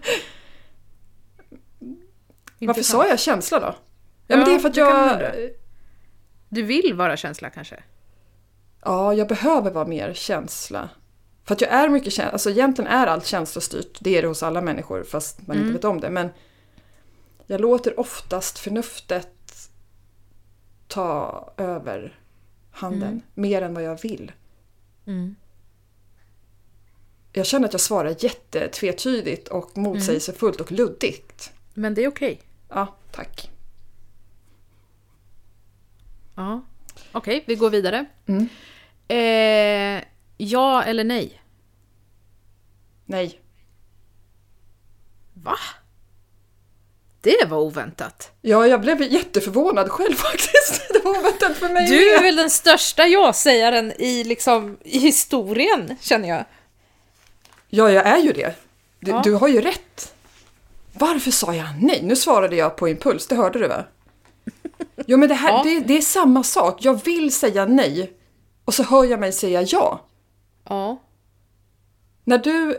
Speaker 2: Intressant.
Speaker 1: sa jag känsla då? Ja, men
Speaker 2: Ja,
Speaker 1: det är för att
Speaker 2: det kan man
Speaker 1: jag...
Speaker 2: undra. Du vill vara känsla kanske?
Speaker 1: Ja, jag behöver vara mer känsla. För att jag är mycket känsla. Alltså egentligen är allt känslostyrt. Det är det hos alla människor fast man inte vet om det. Men jag låter oftast förnuftet ta över handen. Mer än vad jag vill. Jag känner att jag svarar jättetvetydigt och motsägelsefullt och luddigt.
Speaker 2: Men det är okej.
Speaker 1: Ja, tack.
Speaker 2: Ja. Okej, vi går vidare.
Speaker 1: Mm.
Speaker 2: Eh, ja eller nej?
Speaker 1: Nej.
Speaker 2: Va? Det var oväntat.
Speaker 1: Ja, jag blev jätteförvånad själv faktiskt. Det var oväntat för mig
Speaker 2: Du är
Speaker 1: med.
Speaker 2: väl den största ja-sägaren i, liksom, i historien, känner jag.
Speaker 1: Ja, jag är ju det. Du,
Speaker 2: Ja.
Speaker 1: du har ju rätt. Varför sa jag nej? Nu svarade jag på impuls, det hörde du va? Jo, men det här
Speaker 2: Ja.
Speaker 1: det, det är samma sak. Jag vill säga nej och så hör jag mig säga ja.
Speaker 2: Ja.
Speaker 1: När du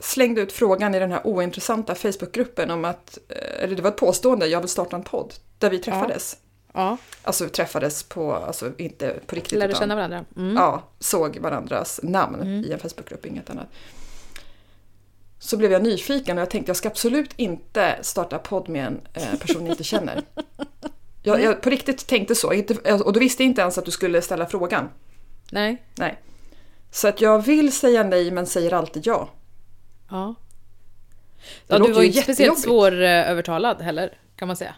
Speaker 1: slängde ut frågan i den här ointressanta Facebookgruppen om att, eh, eller det var ett påstående, jag vill starta en podd, där vi träffades.
Speaker 2: ja.
Speaker 1: Alltså vi träffades på, alltså inte på riktigt
Speaker 2: Lärde känna varandra. Mm.
Speaker 1: ja, såg varandras namn i en Facebookgrupp, inget annat. Så blev jag nyfiken och jag tänkte jag ska absolut inte starta podd med en eh, person jag inte känner. Jag, jag på riktigt tänkte så, inte, och då visste jag inte ens att du skulle ställa frågan.
Speaker 2: Nej.
Speaker 1: Nej. Så att jag vill säga nej men säger alltid ja.
Speaker 2: Ja.
Speaker 1: Det
Speaker 2: ja
Speaker 1: låter
Speaker 2: du var ju
Speaker 1: ju
Speaker 2: inte speciellt
Speaker 1: jättejobbigt.
Speaker 2: svårövertalad heller, kan man säga.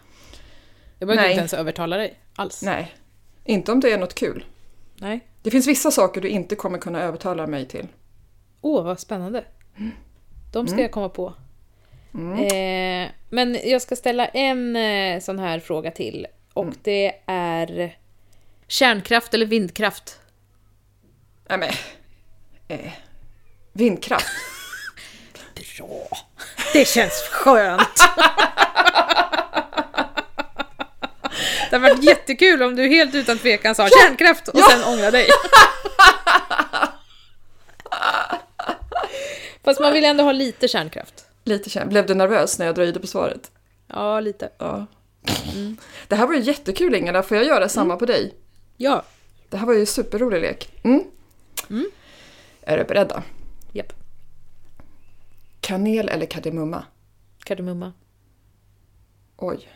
Speaker 2: Jag behövde
Speaker 1: Nej.
Speaker 2: inte ens övertala dig alls.
Speaker 1: Nej, inte om det är något kul.
Speaker 2: Nej.
Speaker 1: Det finns vissa saker du inte kommer kunna övertala mig till.
Speaker 2: Åh, vad spännande. De
Speaker 1: Mm.
Speaker 2: ska jag komma på. Eh, men jag ska ställa en eh, sån här fråga till. Och
Speaker 1: Mm.
Speaker 2: det är kärnkraft eller vindkraft?
Speaker 1: Nej men... Eh, vindkraft.
Speaker 2: Bra! Det känns skönt! Det hade varit jättekul om du helt utan tvekan sa kärnkraft och sen ångrade dig. Fast man vill ändå ha lite kärnkraft.
Speaker 1: Lite känd. Blev du nervös när jag dröjde på svaret?
Speaker 2: Ja, lite.
Speaker 1: Ja. Mm. Det här var ju jättekul Ingela, får jag göra
Speaker 2: Mm.
Speaker 1: samma på dig?
Speaker 2: Ja.
Speaker 1: Det här var ju en superrolig lek. Mm. Är du beredda?
Speaker 2: Japp.
Speaker 1: Kanel eller kardemumma?
Speaker 2: Kardemumma.
Speaker 1: Oj.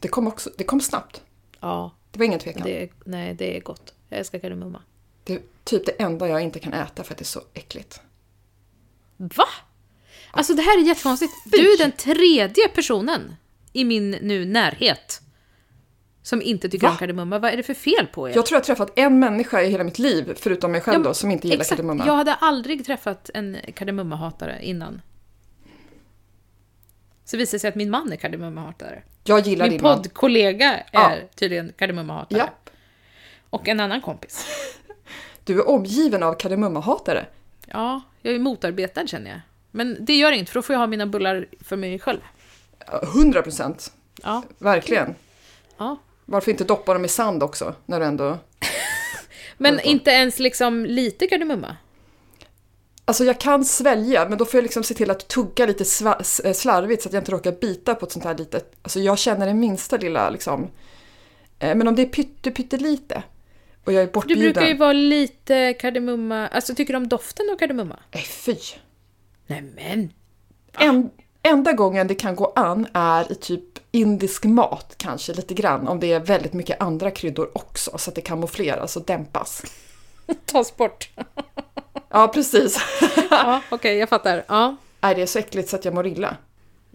Speaker 1: Det kom, också, det kom snabbt.
Speaker 2: Ja,
Speaker 1: Det var ingen tvekan. Det...
Speaker 2: det är, nej, det är gott. Jag älskar kardemumma.
Speaker 1: är typ det enda jag inte kan äta för att det är så äckligt.
Speaker 2: Va? Alltså det här är jättekonstigt. Du är den tredje personen i min nu närhet som inte tycker
Speaker 1: Va?
Speaker 2: om kardemumma. Vad är det för fel på er?
Speaker 1: Jag tror jag har träffat en människa i hela mitt liv, förutom mig själv
Speaker 2: Ja,
Speaker 1: då, som inte gillar
Speaker 2: Exakt.
Speaker 1: kardemumma.
Speaker 2: Jag hade aldrig träffat en kardemummahatare innan. Så visade det sig att min man är kardemummahatare.
Speaker 1: Jag gillar
Speaker 2: Min
Speaker 1: din man.
Speaker 2: poddkollega
Speaker 1: Ja.
Speaker 2: är tydligen kardemummahatare.
Speaker 1: Ja.
Speaker 2: Och en annan kompis.
Speaker 1: Du är omgiven av kardemummahatare.
Speaker 2: Ja, jag är motarbetad känner jag. Men det gör inget, för då får jag ha mina bullar för mig själv.
Speaker 1: Ja, 100 procent.
Speaker 2: Ja, Mm.
Speaker 1: Verkligen.
Speaker 2: ja.
Speaker 1: Varför inte doppa dem i sand också, när du ändå...
Speaker 2: Men inte ens liksom lite kardemumma?
Speaker 1: Alltså jag kan svälja, men då får jag liksom se till att tugga lite sva- s- eh, slarvigt så att jag inte råkar bita på ett sånt här litet... Alltså jag känner den minsta lilla liksom... Eh, Men om det är pytte, pyttelite och jag är
Speaker 2: Du
Speaker 1: bortbjuden...
Speaker 2: brukar ju vara lite kardemumma... Alltså tycker du om doften av kardemumma?
Speaker 1: Nej, fy!
Speaker 2: Nej men!
Speaker 1: En, enda gången det kan gå an är i typ indisk mat kanske, lite grann. Om det är väldigt mycket andra kryddor också, så att det kamoufleras och dämpas.
Speaker 2: Tas bort.
Speaker 1: Ja, precis.
Speaker 2: ja, okej, jag fattar. Ja,
Speaker 1: Nej, det är så äckligt så att jag mår illa.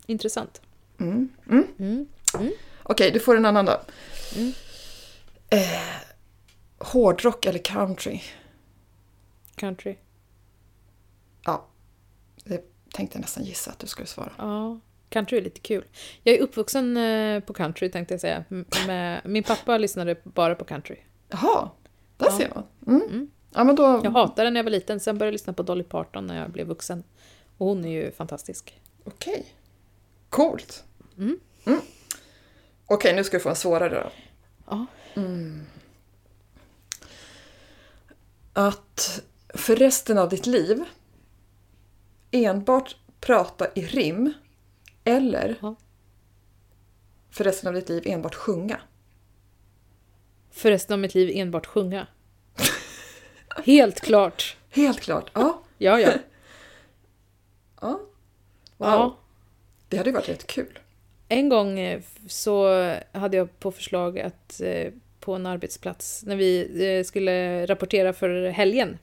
Speaker 2: intressant. Mm.
Speaker 1: Okej, du får en annan då. Eh, hårdrock eller country?
Speaker 2: Country.
Speaker 1: Ja, det tänkte jag nästan gissa att du skulle svara.
Speaker 2: Ja, country är lite kul. Jag är uppvuxen eh, på country tänkte jag säga. M- Med, min pappa lyssnade bara på country.
Speaker 1: Jaha, där ser man. Mm. Ja, men då...
Speaker 2: Jag hatade den när jag var liten, sen började jag lyssna på Dolly Parton när jag blev vuxen. Och hon är ju fantastisk.
Speaker 1: Okej. Coolt. Mm. Okej, nu ska du få en svårare då. Mm.
Speaker 2: Ja.
Speaker 1: Att för resten av ditt liv enbart prata i rim eller
Speaker 2: Ja.
Speaker 1: för resten av ditt liv enbart sjunga.
Speaker 2: För resten av mitt liv enbart sjunga. Helt klart.
Speaker 1: Helt klart. Ja.
Speaker 2: Ja, ja.
Speaker 1: ja. Wow.
Speaker 2: ja.
Speaker 1: Det hade ju varit rätt kul.
Speaker 2: En gång eh, f- så hade jag på förslag att eh, på en arbetsplats, när vi eh, skulle rapportera för helgen,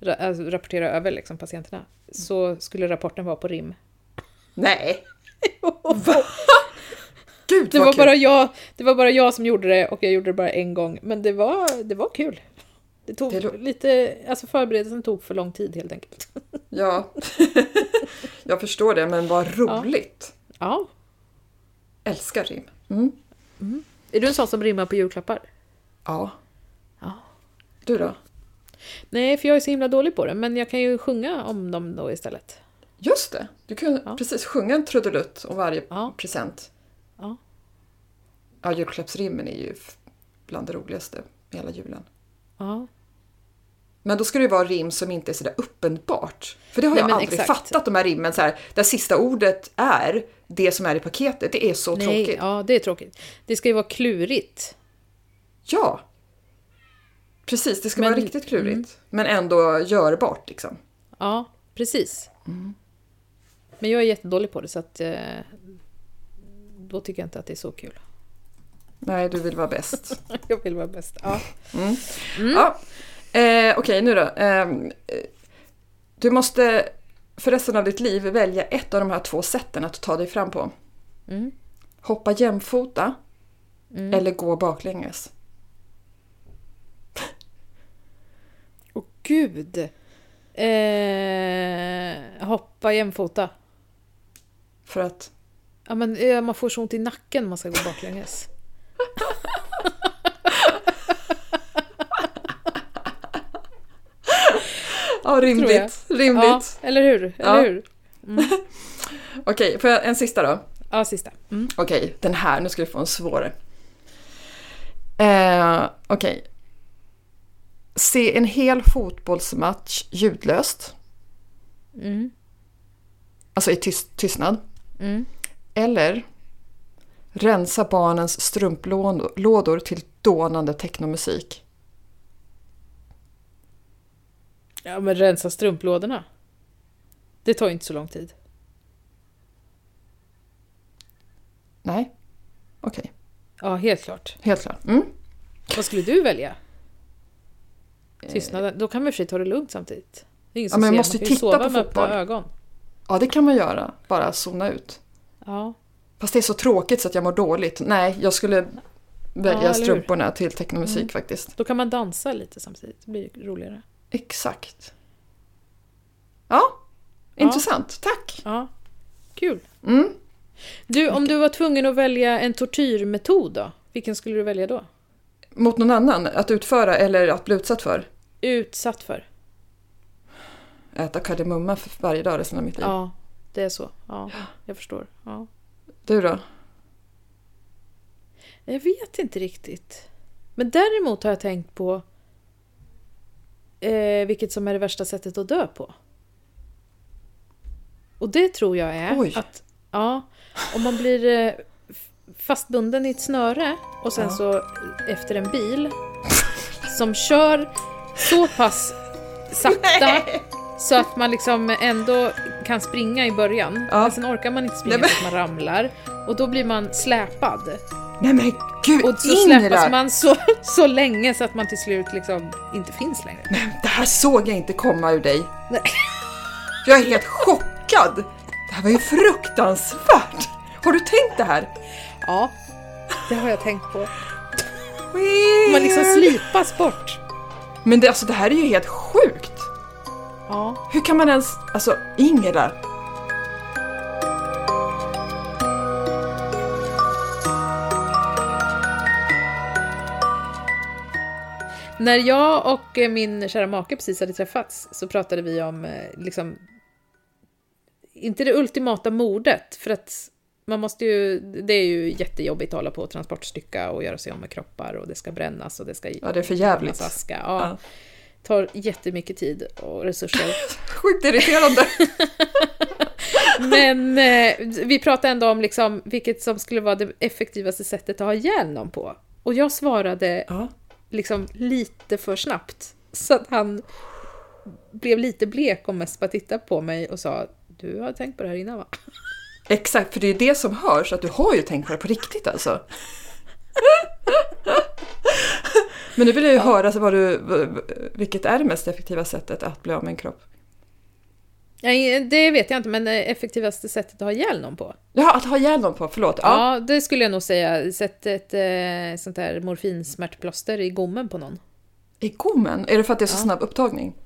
Speaker 2: ra- alltså rapportera över liksom, patienterna, så skulle rapporten vara på rim.
Speaker 1: Nej! Gud
Speaker 2: Det
Speaker 1: vad
Speaker 2: var,
Speaker 1: kul!
Speaker 2: bara jag, det var bara jag som gjorde det och jag gjorde det bara en gång. Men det var, det var kul. Det tog
Speaker 1: Det lo-
Speaker 2: lite, alltså förberedelsen tog för lång tid helt enkelt.
Speaker 1: Ja. jag förstår det, men vad roligt!
Speaker 2: Ja.
Speaker 1: Älskar rim. Mm.
Speaker 2: Är du en sån som rimmar på julklappar?
Speaker 1: Ja.
Speaker 2: Ja.
Speaker 1: Du då?
Speaker 2: Nej, för jag är så himla dålig på det, men jag kan ju sjunga om dem då istället.
Speaker 1: Just det, du kunde
Speaker 2: Ja.
Speaker 1: precis sjunga en trudelutt om varje
Speaker 2: Ja.
Speaker 1: present.
Speaker 2: Ja.
Speaker 1: Ja, julklappsrimmen är ju f- bland det roligaste med hela julen.
Speaker 2: Ja,
Speaker 1: Men då ska det ju vara rim som inte är sådär uppenbart. För det har
Speaker 2: Nej,
Speaker 1: jag
Speaker 2: men
Speaker 1: aldrig
Speaker 2: exakt.
Speaker 1: fattat, de här rimmen så här, där sista ordet är det som är i paketet. Det är så
Speaker 2: Nej,
Speaker 1: tråkigt. Ja.
Speaker 2: ja, det är tråkigt. Det ska ju vara klurigt.
Speaker 1: Precis, det ska
Speaker 2: Men- Mm.
Speaker 1: vara riktigt klurigt. Men ändå görbart liksom.
Speaker 2: Ja, precis. Men jag är jättedålig på det, så att eh, då tycker jag inte att det är så kul.
Speaker 1: Nej, du vill vara bäst.
Speaker 2: Jag vill vara bäst. Ja. Mm.
Speaker 1: Ja. Eh, Okej, nu då. Ehm, Eh, du måste för resten av ditt liv välja ett av de här två sätten att ta dig fram på.
Speaker 2: Mm.
Speaker 1: Hoppa jämfota eller gå baklänges.
Speaker 2: Åh gud! Eh, hoppa jämfota.
Speaker 1: För att
Speaker 2: Ja, men, eh, man får så ont i nacken om man ska gå baklänges.
Speaker 1: Ja, rimligt.
Speaker 2: Ja,
Speaker 1: rimligt.
Speaker 2: eller hur?
Speaker 1: Ja.
Speaker 2: Eller hur?
Speaker 1: Okej, får jag en sista då?
Speaker 2: Ja, sista. Mm.
Speaker 1: Okej, den här. Nu ska du få en svårare. Eh, Okej. Se en hel fotbollsmatch ljudlöst.
Speaker 2: Mm.
Speaker 1: Alltså i tyst, tystnad.
Speaker 2: Mm.
Speaker 1: Eller rensa barnens strumplådor till dånande technomusik.
Speaker 2: Ja, men rensa strumplådorna. Det tar ju inte så lång tid.
Speaker 1: Nej, okej.
Speaker 2: Ja, helt klart.
Speaker 1: Helt klart. Mm.
Speaker 2: Vad skulle du välja? Tystnaden. Då kan man i och för sig ta det lugnt samtidigt. Det är
Speaker 1: Eh.
Speaker 2: ingen
Speaker 1: Ja,
Speaker 2: som
Speaker 1: men
Speaker 2: ser.
Speaker 1: man
Speaker 2: Man
Speaker 1: måste
Speaker 2: kan ju
Speaker 1: titta
Speaker 2: sova
Speaker 1: på
Speaker 2: med öppna
Speaker 1: fotboll.
Speaker 2: ögon.
Speaker 1: Ja, det kan man göra. Bara zona ut.
Speaker 2: Ja.
Speaker 1: Fast det är så tråkigt så att jag mår dåligt. Nej, jag skulle välja
Speaker 2: eller hur? Mm.
Speaker 1: strumporna till technomusik faktiskt.
Speaker 2: Då kan man dansa lite samtidigt. Det blir roligare.
Speaker 1: Exakt. Ja, intressant. Tack.
Speaker 2: Ja. Kul.
Speaker 1: Mm.
Speaker 2: Du, om du var tvungen att välja en tortyrmetod då? Vilken skulle du välja då?
Speaker 1: Mot någon annan, att utföra eller att bli utsatt för.
Speaker 2: Utsatt för?
Speaker 1: Äta kardemumma för varje dag resten av mitt liv.
Speaker 2: Ja, det är så. Ja, jag förstår. Ja.
Speaker 1: Du då?
Speaker 2: Jag vet inte riktigt. Men däremot har jag tänkt på eh, vilket som är det värsta sättet att dö på. Och det tror jag är
Speaker 1: Oj.
Speaker 2: att ja, om man blir eh, f- fastbunden i ett snöre och sen
Speaker 1: Ja.
Speaker 2: så efter en bil som kör så pass sakta så att man liksom ändå kan springa i början.
Speaker 1: Ja.
Speaker 2: Men sen orkar man inte springa
Speaker 1: Nej, men-
Speaker 2: för att man ramlar och då blir man släpad.
Speaker 1: Nej men gud,
Speaker 2: Och så släpas man så, så länge så att man till slut liksom inte finns längre.
Speaker 1: Det här såg jag inte komma ur dig.
Speaker 2: Nej.
Speaker 1: Jag är helt chockad! Det här var ju fruktansvärt! Har du tänkt det här?
Speaker 2: Ja, det har jag tänkt på.
Speaker 1: Weird.
Speaker 2: Man liksom slipas bort.
Speaker 1: Men det, alltså, det här är ju helt sjukt!
Speaker 2: Ja.
Speaker 1: Hur kan man ens... Alltså, Ingela!
Speaker 2: När jag och eh, min kära make precis hade träffats så pratade vi om, eh, liksom, inte det ultimata mordet, för att man måste ju, det är ju jättejobbigt att hålla på och transportstycka och göra sig om med kroppar och det ska brännas och det ska
Speaker 1: Ja, det är för
Speaker 2: brännas
Speaker 1: jävligt.
Speaker 2: aska. Ja.
Speaker 1: Ja.
Speaker 2: Tar jättemycket tid och resurser.
Speaker 1: Sjukt irriterande.
Speaker 2: Men eh, vi pratade ändå om liksom, vilket som skulle vara det effektivaste sättet att ha ihjäl någon på. Och jag svarade
Speaker 1: ja.
Speaker 2: liksom lite för snabbt. Så att han blev lite blek och mest bara tittade på mig och sa du har tänkt på det här innan va?
Speaker 1: Exakt, för det är ju det som hörs, att du har ju tänkt på det på riktigt alltså. Men nu vill jag ju höra så vad du, vilket är det mest effektiva sättet att bli av med en kropp?
Speaker 2: Nej, det vet jag inte, men det effektivaste sättet att ha ihjäl någon på?
Speaker 1: Jaha, att ha ihjäl någon på, förlåt. Ja.
Speaker 2: Ja. det skulle jag nog säga. Sätt ett eh, sånt här morfinsmärtplåster i gommen på någon.
Speaker 1: I gommen? Är det för att det är så snabb upptagning?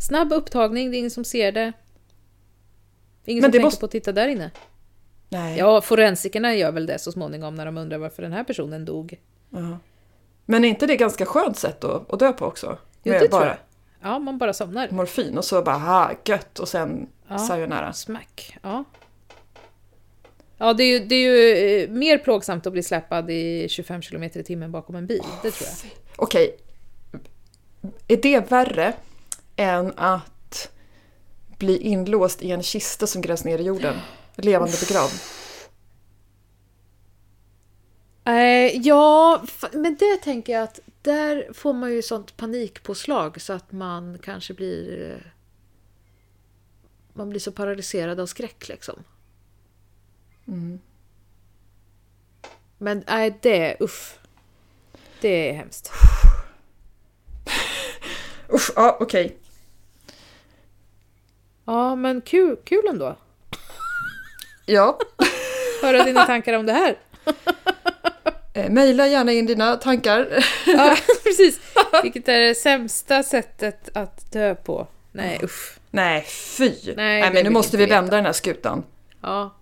Speaker 2: Snabb upptagning, det är ingen som ser det. Ingen
Speaker 1: Men
Speaker 2: som
Speaker 1: det
Speaker 2: tänker
Speaker 1: måste-
Speaker 2: på att titta där inne.
Speaker 1: Nej.
Speaker 2: Ja, forensikerna gör väl det så småningom när de undrar varför den här personen dog.
Speaker 1: Ja. Men är inte det ett ganska skönt sätt att, att dö på också?
Speaker 2: Jo,
Speaker 1: Med
Speaker 2: det
Speaker 1: bara
Speaker 2: tror jag. Ja, man bara somnar.
Speaker 1: morfin och så bara ha gött och sen
Speaker 2: Ja.
Speaker 1: sayonara.
Speaker 2: Smack, ja. Ja, det är ju, det är ju eh, mer plågsamt att bli släpad i 25 km i timmen bakom en bil, det tror jag.
Speaker 1: Okej, är det värre än att bli inlåst i en kista som grävs ner i jorden? Levande begravd.
Speaker 4: Eh, ja, fa- men det tänker jag att där får man ju sånt panikpåslag så att man kanske blir... eh, Man blir så paralyserad av skräck liksom.
Speaker 2: Mm.
Speaker 4: Men nej, det... Uff.
Speaker 2: Det är hemskt.
Speaker 1: Usch, ja okej.
Speaker 2: Ja, men kul, kul ändå.
Speaker 1: Ja.
Speaker 2: Höra dina tankar om det här.
Speaker 1: Eh, Mejla gärna in dina tankar.
Speaker 2: Ja, precis. Vilket är det sämsta sättet att dö på? Nej, usch.
Speaker 1: Nej, fy! Nej,
Speaker 2: det
Speaker 1: men
Speaker 2: vill
Speaker 1: nu
Speaker 2: jag
Speaker 1: måste vi
Speaker 2: inte veta.
Speaker 1: vända den här skutan.
Speaker 2: Ja,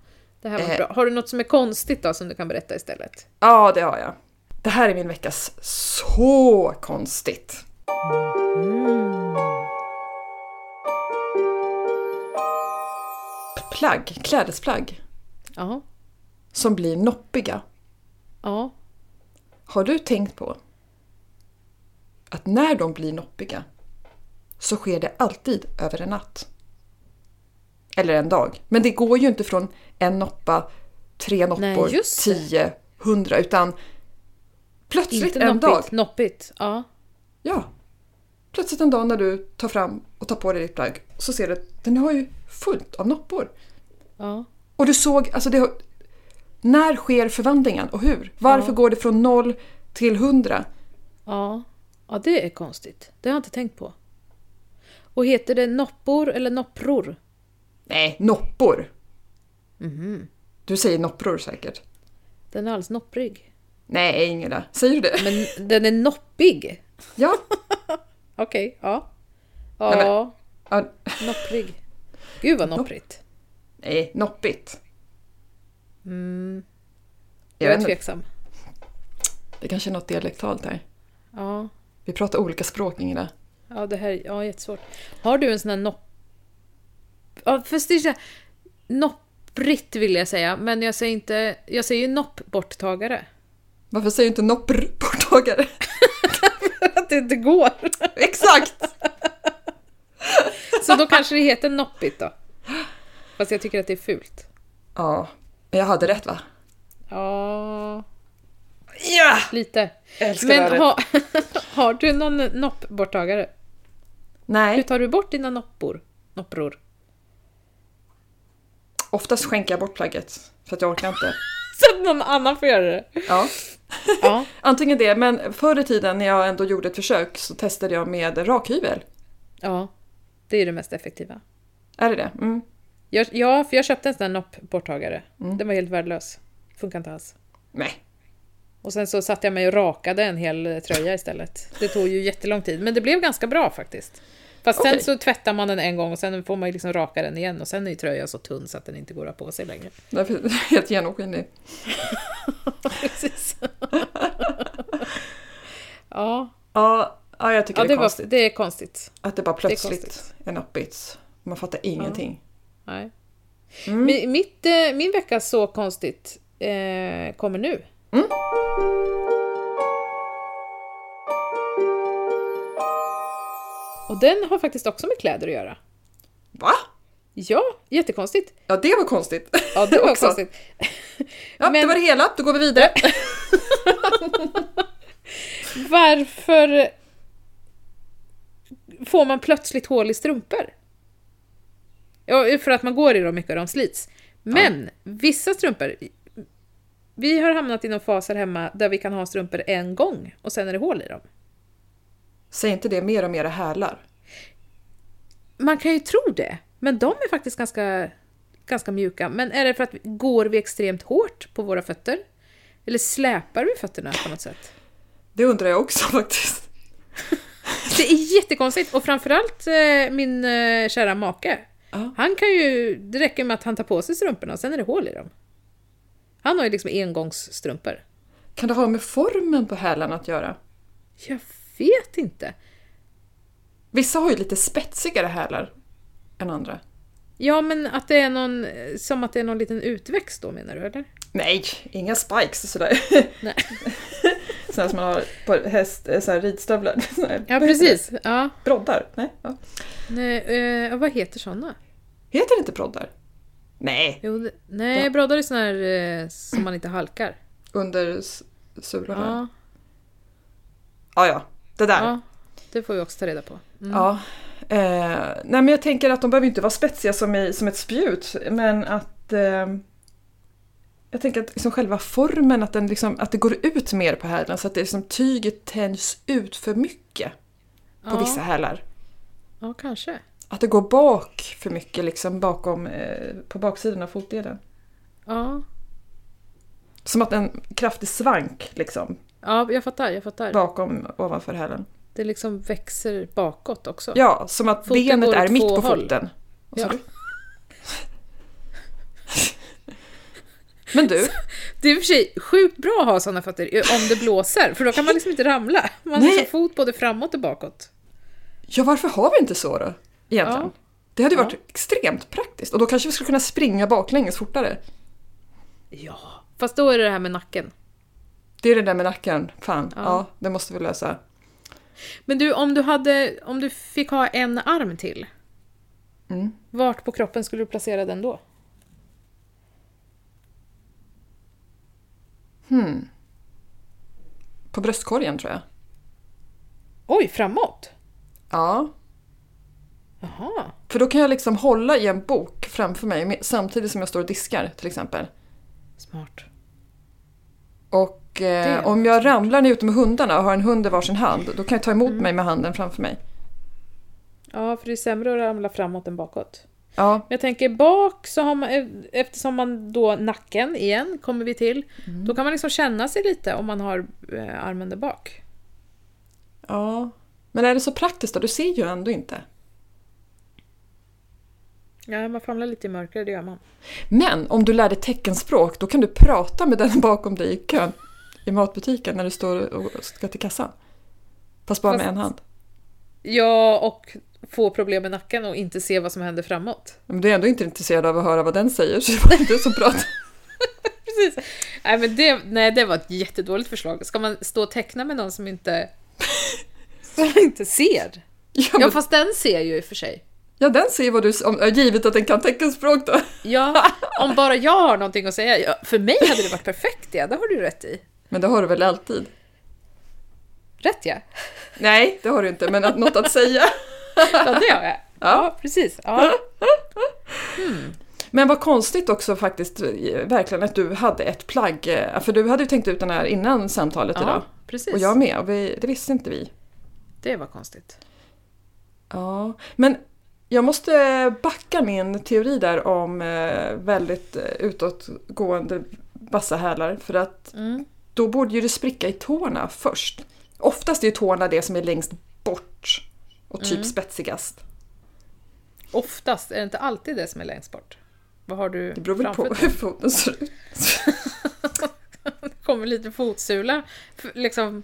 Speaker 2: det här var
Speaker 1: Eh.
Speaker 2: bra. Har du något som är konstigt då som du kan berätta istället?
Speaker 1: Ja, det har jag. Det här är min veckas så konstigt. Plagg, klädesplagg
Speaker 2: Ja,
Speaker 1: som blir noppiga.
Speaker 2: ja.
Speaker 1: Har du tänkt på att när de blir noppiga så sker det alltid över en natt? Eller en dag. Men det går ju inte från en noppa, tre noppor,
Speaker 2: just det.
Speaker 1: tio, hundra utan plötsligt
Speaker 2: Inte
Speaker 1: en
Speaker 2: noppigt,
Speaker 1: dag.
Speaker 2: noppigt. Ja.
Speaker 1: Ja. Plötsligt en dag när du tar fram och tar på dig ditt plagg så ser du att den har ju fullt av noppor.
Speaker 2: ja.
Speaker 1: Och du såg, alltså det har, När sker förvandlingen och hur? Varför går det från noll till hundra?
Speaker 2: Ja, ja det är konstigt. Det har jag inte tänkt på. Och heter det noppor eller noppror?
Speaker 1: Nej, noppor.
Speaker 2: Mhm.
Speaker 1: Du säger noppror säkert.
Speaker 2: Den är alldeles nopprig.
Speaker 1: Nej, Ingela. Säger du det?
Speaker 2: Men den är noppig!
Speaker 1: Ja.
Speaker 2: Okej, ja.
Speaker 1: Nej,
Speaker 2: Ja,
Speaker 1: ja.
Speaker 2: nopprig. Gud vad nopprigt.
Speaker 1: Nej, noppigt. Jag
Speaker 2: Mm. Jag
Speaker 1: vet
Speaker 2: är
Speaker 1: inte,
Speaker 2: tveksam.
Speaker 1: det kanske är något dialektalt här.
Speaker 2: Ja,
Speaker 1: Vi pratar olika språk, Ingela.
Speaker 2: ja det här ja, jättesvårt. Har du en sån här nopp... Ja, fast det är så här, Nopprigt vill jag säga, men jag säger inte... Jag säger ju noppborttagare.
Speaker 1: Varför säger du inte noppr borttagare?
Speaker 2: Att det inte går!
Speaker 1: Exakt!
Speaker 2: Så då kanske det heter noppigt då. Fast jag tycker att det är fult.
Speaker 1: Ja, men jag hade rätt va?
Speaker 2: Ja,
Speaker 1: Ja!
Speaker 2: lite.
Speaker 1: älskar det
Speaker 2: Men
Speaker 1: här.
Speaker 2: ha, har du någon noppborttagare? Hur
Speaker 1: Nej,
Speaker 2: tar du bort dina noppor? Noppror?
Speaker 1: oftast skänker jag bort plagget. För att jag orkar inte.
Speaker 2: Så att någon annan får göra det?
Speaker 1: Ja.
Speaker 2: Ja.
Speaker 1: Antingen det, men förr i tiden när jag ändå gjorde ett försök så testade jag med rakhyvel.
Speaker 2: ja. Det är det mest effektiva.
Speaker 1: Är det det? Mm.
Speaker 2: Jag, ja, för jag köpte en sån här noppborttagare. Den var helt värdelös. Funkar inte alls.
Speaker 1: Nej.
Speaker 2: Och sen så satte jag mig och rakade en hel eh, tröja istället. Det tog ju jättelång tid, men det blev ganska bra faktiskt. Fast sen
Speaker 1: Okej.
Speaker 2: så tvättar man den en gång och sen får man ju liksom raka den igen och sen är ju tröjan så tunn så att den inte går att ha på sig längre.
Speaker 1: Därför är jag helt genomskinlig.
Speaker 2: Precis. ja,
Speaker 1: Ja, ja, jag tycker
Speaker 2: ja
Speaker 1: det
Speaker 2: det,
Speaker 1: är konstigt.
Speaker 2: var, det är konstigt.
Speaker 1: Att det bara plötsligt
Speaker 2: konstigt.
Speaker 1: är noppigt. Man fattar ingenting.
Speaker 2: Nej.
Speaker 1: Mm.
Speaker 2: Mi- Mitt, eh, min vecka Så konstigt eh, kommer nu.
Speaker 1: Mm.
Speaker 2: Och den har faktiskt också med kläder att göra.
Speaker 1: Va?
Speaker 2: Ja, jättekonstigt.
Speaker 1: Ja, det var konstigt.
Speaker 2: Ja, det var
Speaker 1: Också.
Speaker 2: konstigt.
Speaker 1: Ja,
Speaker 2: Men-
Speaker 1: det var det hela. Då går vi vidare.
Speaker 2: Varför får man plötsligt hål i strumpor? Ja, för att man går i dem mycket och de slits. Men vissa strumpor... Vi har hamnat i någon fas här hemma där vi kan ha strumpor en gång och sen är det hål i dem.
Speaker 1: Säg inte det mer om era hälar.
Speaker 2: Man kan ju tro det, men de är faktiskt ganska, ganska mjuka. Men är det för att vi- går vi extremt hårt på våra fötter? Eller släpar vi fötterna på något sätt?
Speaker 1: Det undrar jag också faktiskt.
Speaker 2: Det är jättekonstigt och framförallt eh, min eh, kära make.
Speaker 1: Ja.
Speaker 2: Han kan ju, det räcker med att han tar på sig strumporna och sen är det hål i dem. Han har ju liksom engångsstrumpor.
Speaker 1: Kan det ha med formen på hälarna att göra?
Speaker 2: Jag vet inte.
Speaker 1: Vissa har ju lite spetsigare hälar än andra.
Speaker 2: Ja men att det är någon, eh, som att det är någon liten utväxt då menar du eller?
Speaker 1: Nej, inga spikes och sådär.
Speaker 2: Nej.
Speaker 1: Sådana som man har på häst, eh, så här ridstövlar. Så här.
Speaker 2: Ja precis. Ja.
Speaker 1: Broddar? Nej. Ja.
Speaker 2: Nej, eh, vad heter såna?
Speaker 1: Heter det inte broddar? Nej.
Speaker 2: Jo, det- nej, broddar är såna här eh, som man inte halkar.
Speaker 1: Under s- sulorna? Ja.
Speaker 2: Ja,
Speaker 1: ja, ja. Det där.
Speaker 2: ja, det får vi också ta reda på. Mm.
Speaker 1: Ja. Eh, nej men jag tänker att de behöver inte vara spetsiga som, i, som ett spjut men att eh, jag tänker att liksom själva formen, att, den liksom, att det går ut mer på hälen så att det liksom, tyget tänjs ut för mycket på
Speaker 2: Ja.
Speaker 1: vissa hälar.
Speaker 2: Ja, kanske.
Speaker 1: Att det går bak för mycket liksom bakom, eh, på baksidan av fotleden.
Speaker 2: Ja.
Speaker 1: Som att en kraftig svank liksom
Speaker 2: ja, jag fattar, jag fattar.
Speaker 1: bakom ovanför hälen.
Speaker 2: Det liksom växer bakåt också.
Speaker 1: Ja, som att
Speaker 2: Foten
Speaker 1: benet
Speaker 2: går
Speaker 1: är
Speaker 2: åt
Speaker 1: mitt
Speaker 2: två
Speaker 1: på
Speaker 2: håll.
Speaker 1: foten. Vad sa
Speaker 2: Ja.
Speaker 1: du? Men du,
Speaker 2: Det är i och för sig sjukt bra att ha såna fötter eh, om det blåser, för då kan man liksom inte ramla. Man har
Speaker 1: Nej.
Speaker 2: sin fot både framåt och bakåt.
Speaker 1: ja varför har vi inte så då? Egentligen.
Speaker 2: Ja.
Speaker 1: Det hade ju
Speaker 2: Ja.
Speaker 1: varit extremt praktiskt och då kanske vi skulle kunna springa baklänges fortare.
Speaker 2: Ja. Fast då är det det här med nacken.
Speaker 1: Det är det där med nacken, fan. Ja,
Speaker 2: Ja.
Speaker 1: det måste vi lösa.
Speaker 2: Men du, om du, hade, om du fick ha en arm till,
Speaker 1: Mm.
Speaker 2: vart på kroppen skulle du placera den då?
Speaker 1: På bröstkorgen tror jag.
Speaker 2: Oj, framåt?
Speaker 1: Ja,
Speaker 2: Jaha.
Speaker 1: för då kan jag liksom hålla i en bok framför mig med- samtidigt som jag står och diskar till exempel.
Speaker 2: Smart.
Speaker 1: Och
Speaker 2: Det
Speaker 1: eh,
Speaker 2: är
Speaker 1: om jag ramlar när jag är ute med hundarna och har en hund i varsin hand, då kan jag ta emot
Speaker 2: Mm.
Speaker 1: mig med handen framför mig.
Speaker 2: Ja, för det är sämre att ramla framåt än bakåt.
Speaker 1: Ja,
Speaker 2: Men jag tänker bak, så har man, eh, eftersom man då nacken igen kommer vi till, då kan man liksom känna sig lite om man har eh, armen där bak.
Speaker 1: ja. Men är det så praktiskt då? Du ser ju ändå inte.
Speaker 2: Ja, man famlar lite i mörker, det gör man.
Speaker 1: Men om du lär dig teckenspråk, då kan du prata med den bakom dig i kön i matbutiken när du står och ska till kassan. Fast bara
Speaker 2: Fast-
Speaker 1: med en hand.
Speaker 2: Ja, och få problem med nacken och inte se vad som händer framåt.
Speaker 1: Men du är ändå inte intresserad av att höra vad den säger, så det var inte så bra.
Speaker 2: Precis. Nej, men det, nej, det var ett jättedåligt förslag. Ska man stå och teckna med någon som inte, som inte ser?
Speaker 1: Ja,
Speaker 2: Ja,
Speaker 1: men,
Speaker 2: fast den ser ju i och för sig.
Speaker 1: ja den ser vad du... Om, ja, givet att den kan teckenspråk då.
Speaker 2: Ja, om bara jag har någonting att säga. Ja, för mig hade det varit perfekt, ja. Det har du rätt i.
Speaker 1: Men det har du väl alltid?
Speaker 2: Rätt ja.
Speaker 1: Nej, det har du inte, men att, något att säga.
Speaker 2: Ja, det har jag. Ja, precis. Ja.
Speaker 1: Men vad konstigt också faktiskt, eh, verkligen att du hade ett plagg. eh, För du hade ju tänkt ut den här innan samtalet idag.
Speaker 2: ja precis.
Speaker 1: Och jag med, och vi, det visste inte vi.
Speaker 2: Det var konstigt.
Speaker 1: Ja, men jag måste backa min teori där om eh, väldigt eh, utåtgående vassa hälar. För att
Speaker 2: Mm.
Speaker 1: då borde ju det spricka i tårna först. Oftast är ju tårna det som är längst bort och typ spetsigast.
Speaker 2: Oftast är det inte alltid det som är längst bort. Vad har du
Speaker 1: Det beror väl på
Speaker 2: framför dig?
Speaker 1: hur foten ser ut.
Speaker 2: Det kommer lite fotsula. F- Liksom.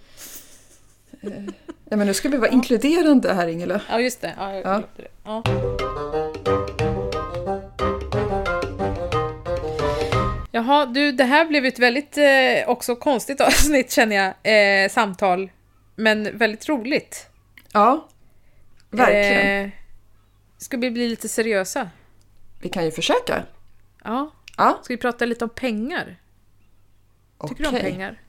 Speaker 1: Nej men nu ska vi vara inkluderande här Ingela.
Speaker 2: Ja, just det. Ja, jag
Speaker 1: Ja.
Speaker 2: glömde det. Ja. Jaha, du, det här blev ett väldigt eh, också konstigt avsnitt känner jag. Eh, samtal. Men väldigt roligt.
Speaker 1: Ja, verkligen.
Speaker 2: Eh, ska vi bli lite seriösa?
Speaker 1: Vi kan ju försöka.
Speaker 2: Ja.
Speaker 1: Ja,
Speaker 2: Ska vi prata lite om pengar? Tycker du om pengar?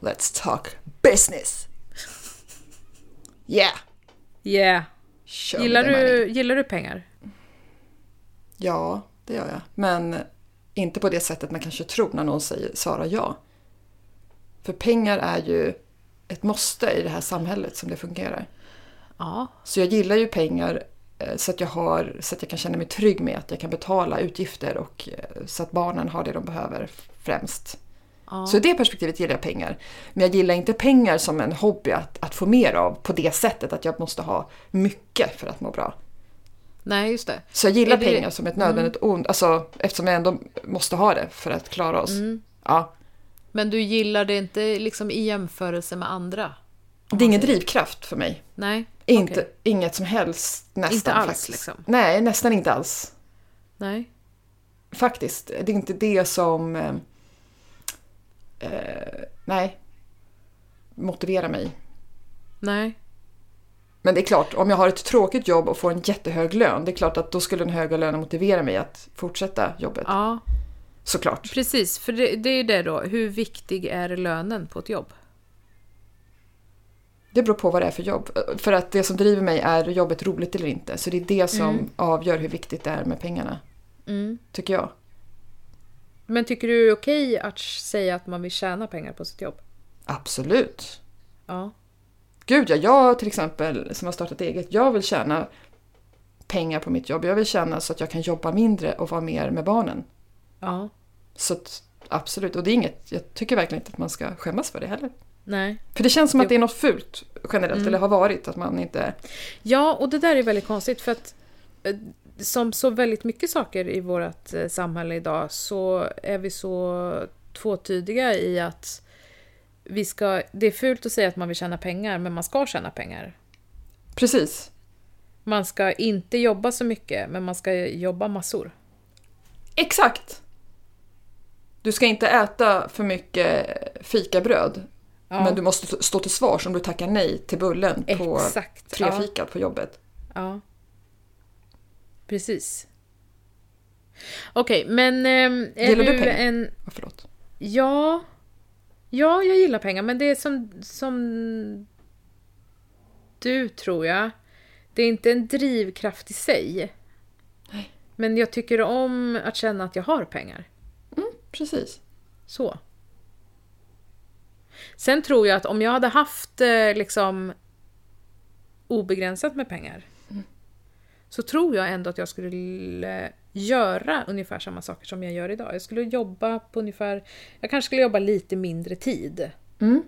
Speaker 1: Let's talk business. Yeah!
Speaker 2: Yeah.
Speaker 1: Show me
Speaker 2: Gillar
Speaker 1: the money.
Speaker 2: du, gillar du pengar?
Speaker 1: Ja, det gör jag. Men inte på det sättet man kanske tror när någon säger Sara ja. För pengar är ju ett måste i det här samhället som det fungerar.
Speaker 4: Ja.
Speaker 1: Så jag gillar ju pengar eh, så att, jag har, så att jag kan känna mig trygg med att jag kan betala utgifter och eh, så att barnen har det de behöver främst.
Speaker 4: Ja.
Speaker 1: Så i det perspektivet gillar jag pengar. Men jag gillar inte pengar som en hobby att, att få mer av på det sättet att jag måste ha mycket för att må bra.
Speaker 2: Nej, just det.
Speaker 1: Så jag gillar
Speaker 2: Är Mm. det-
Speaker 1: pengar som ett nödvändigt ont, alltså, eftersom jag ändå måste ha det för att klara oss.
Speaker 2: Mm.
Speaker 1: Ja.
Speaker 2: Men du gillar det inte liksom i jämförelse med andra?
Speaker 1: Det är ingen drivkraft för mig.
Speaker 2: Nej,
Speaker 1: Inte,
Speaker 2: Okej.
Speaker 1: Inget som helst nästan.
Speaker 2: Inte alls,
Speaker 1: faktiskt.
Speaker 2: liksom?
Speaker 1: Nej, nästan inte alls.
Speaker 2: nej.
Speaker 1: Faktiskt, det är inte det som eh, eh, nej, motiverar mig.
Speaker 2: Nej.
Speaker 1: Men det är klart, om jag har ett tråkigt jobb och får en jättehög lön, det är klart att då skulle den höga lönen motivera mig att fortsätta jobbet.
Speaker 2: Ja,
Speaker 1: Såklart.
Speaker 2: precis. För det, det är ju det då. Hur viktig är lönen på ett jobb?
Speaker 1: Det beror på vad det är för jobb. Eh, För att det som driver mig är jobbet roligt eller inte. Så det är det som avgör hur viktigt det är med pengarna,
Speaker 2: Mm.
Speaker 1: tycker jag.
Speaker 2: Men tycker du det är okej att säga att man vill tjäna pengar på sitt jobb?
Speaker 1: Absolut.
Speaker 2: Ja.
Speaker 1: Gud ja, jag till exempel som har startat eget, jag vill tjäna pengar på mitt jobb. Jag vill tjäna så att jag kan jobba mindre och vara mer med barnen.
Speaker 2: Ja.
Speaker 1: Så att, absolut, och det är inget, jag tycker verkligen inte att man ska skämmas för det heller.
Speaker 2: Nej.
Speaker 1: För det känns som att det är något fult generellt,
Speaker 2: Mm.
Speaker 1: eller har varit, att man inte...
Speaker 2: Ja, och det där är väldigt konstigt för att eh, som så väldigt mycket saker i vårt eh, samhälle idag så är vi så tvåtydiga i att vi ska, det är fult att säga att man vill tjäna pengar, men man ska tjäna pengar.
Speaker 1: Precis.
Speaker 2: Man ska inte jobba så mycket, men man ska jobba massor.
Speaker 1: Exakt! Du ska inte äta för mycket fikabröd,
Speaker 2: Ja.
Speaker 1: men du måste stå till svars om du tackar nej till bullen på
Speaker 2: Exakt, ja.
Speaker 1: trefikat på jobbet.
Speaker 2: Ja. Precis. Okej, men ehm, är
Speaker 1: Gillar du
Speaker 2: du
Speaker 1: pengar?
Speaker 2: en...
Speaker 1: Ja, förlåt.
Speaker 2: Ja, ja, jag gillar pengar, men det är som, som du tror jag. Det är inte en drivkraft i sig. Men jag tycker om att känna att jag har pengar.
Speaker 1: Precis.
Speaker 2: Så. Sen tror jag att om jag hade haft eh, liksom obegränsat med pengar så tror jag ändå att jag skulle göra ungefär samma saker som jag gör idag. Jag skulle jobba på ungefär... Jag kanske skulle jobba lite mindre tid.
Speaker 1: Mm.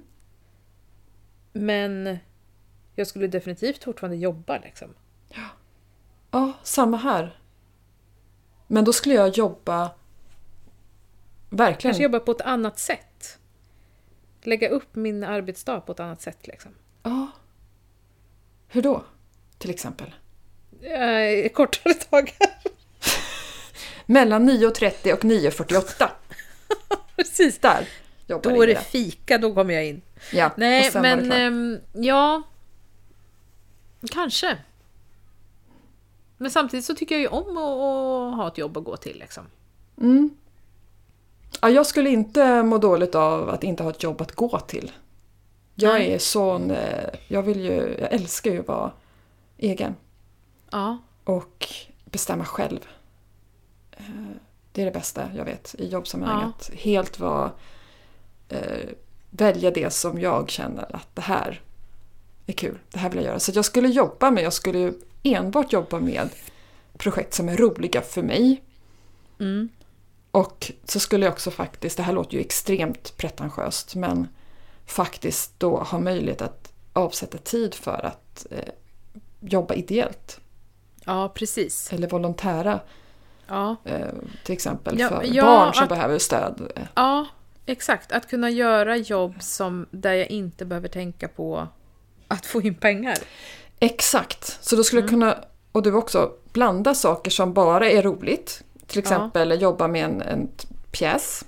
Speaker 2: Men jag skulle definitivt fortfarande jobba liksom.
Speaker 1: Ja, samma här. Men då skulle jag jobba... Verkligen.
Speaker 2: Kanske jobba på ett annat sätt. Lägga upp min arbetsdag på ett annat sätt liksom.
Speaker 1: Ja. Hur då? Till exempel.
Speaker 2: Eh, kortare dagar.
Speaker 1: Mellan 9.30 och 9.48.
Speaker 2: Precis.
Speaker 1: Där jobbar
Speaker 2: Då är det
Speaker 1: Ingela.
Speaker 2: fika, då kommer jag in.
Speaker 1: Ja,
Speaker 2: Nej,
Speaker 1: och sen var det
Speaker 2: men
Speaker 1: klart.
Speaker 2: ehm, ja... Kanske. Men samtidigt så tycker jag ju om att, att ha ett jobb att gå till. Liksom.
Speaker 1: eh, ja, jag skulle inte må dåligt av att inte ha ett jobb att gå till. Jag
Speaker 2: Nej.
Speaker 1: är sån... eh, Jag, vill ju, jag älskar ju att vara egen
Speaker 2: Ja.
Speaker 1: och bestämma själv. Eh, Det är det bästa jag vet i jobbsammanhang. Att helt vara... Eh, välja det som jag känner att det här är kul. Det här vill jag göra. Så att jag skulle jobba med, jag skulle ju enbart jobba med projekt som är roliga för mig.
Speaker 2: Mm.
Speaker 1: Och så skulle jag också faktiskt, det här låter ju extremt pretentiöst, men faktiskt då ha möjlighet att avsätta tid för att eh, jobba ideellt
Speaker 2: ja, precis.
Speaker 1: eller volontära
Speaker 2: Ja.
Speaker 1: eh, till exempel
Speaker 2: Ja,
Speaker 1: för
Speaker 2: ja,
Speaker 1: barn som
Speaker 2: att-
Speaker 1: behöver stöd. Eh,
Speaker 2: ja, exakt. Att kunna göra jobb som, där jag inte behöver tänka på att få in pengar.
Speaker 1: Exakt, så då skulle
Speaker 2: Mm.
Speaker 1: jag kunna, och du också, blanda saker som bara är roligt. Till exempel jobba med en, en t- pjäs.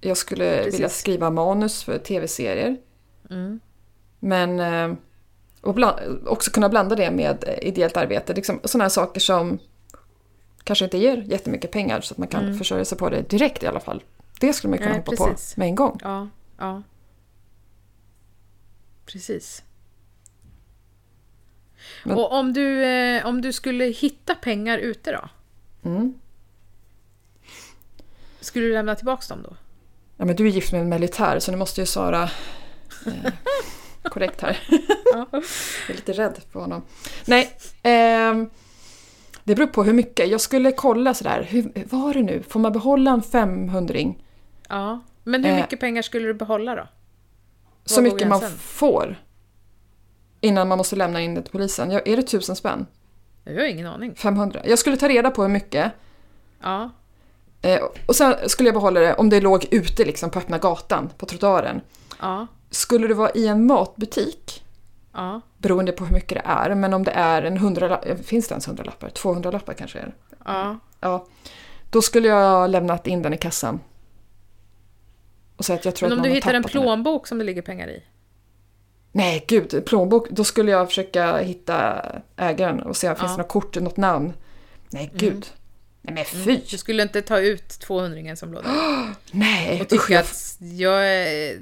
Speaker 1: Jag skulle
Speaker 2: Mm. Precis. Mm.
Speaker 1: vilja skriva manus för tv-serier. Men eh, och bland, också kunna blanda det med eh, ideellt arbete. Liksom, sådana här saker som kanske inte ger jättemycket pengar så att man kan försörja sig på det direkt i alla fall. Det skulle man kunna
Speaker 2: Mm. Nej,
Speaker 1: hoppa
Speaker 2: precis.
Speaker 1: på med en gång.
Speaker 2: Ja, ja. Precis.
Speaker 1: Men-
Speaker 2: Och om du, eh, om du skulle hitta pengar ute då?
Speaker 1: Mm.
Speaker 2: Skulle du lämna tillbaka dem då?
Speaker 1: Ja, men du är gift med en militär så nu måste ju Sara eh, korrekt här. Jag är lite rädd för honom. Nej, ehm, det beror på hur mycket. Jag skulle kolla sådär, hur, vad var det nu? Får man behålla en 500-ring?
Speaker 2: Ja. Men hur
Speaker 1: Eh.
Speaker 2: mycket pengar skulle du behålla då?
Speaker 1: Så
Speaker 2: Var går
Speaker 1: mycket man
Speaker 2: gränsen?
Speaker 1: får. Innan man måste lämna in det till polisen. Ja, är det tusen spänn?
Speaker 2: Jag har ingen aning.
Speaker 1: 500? Jag skulle ta reda på hur mycket.
Speaker 2: Ja.
Speaker 1: Eh, och sen skulle jag behålla det om det låg ute liksom på öppna gatan, på trottoaren.
Speaker 2: Ja.
Speaker 1: Skulle det vara i en matbutik,
Speaker 2: Ja.
Speaker 1: beroende på hur mycket det är, men om det är en hundralapp, finns det ens hundralappar? 200 lappar kanske är det.
Speaker 2: Ja.
Speaker 1: Ja. Då skulle jag ha lämnat in den i kassan. Och säga att jag tror
Speaker 2: Men
Speaker 1: att
Speaker 2: om
Speaker 1: någon
Speaker 2: du
Speaker 1: har
Speaker 2: hittar en
Speaker 1: tappat den här.
Speaker 2: plånbok som det ligger pengar i?
Speaker 1: Nej, gud, plånbok. Då skulle jag försöka hitta ägaren och se om det finns
Speaker 2: Ja. Mm.
Speaker 1: något kort, något namn. Nej, gud. Nej men fy!
Speaker 2: Du skulle inte ta ut 200 som låg där?
Speaker 1: Nej,
Speaker 2: och
Speaker 1: usch.
Speaker 2: tycka att jag eh,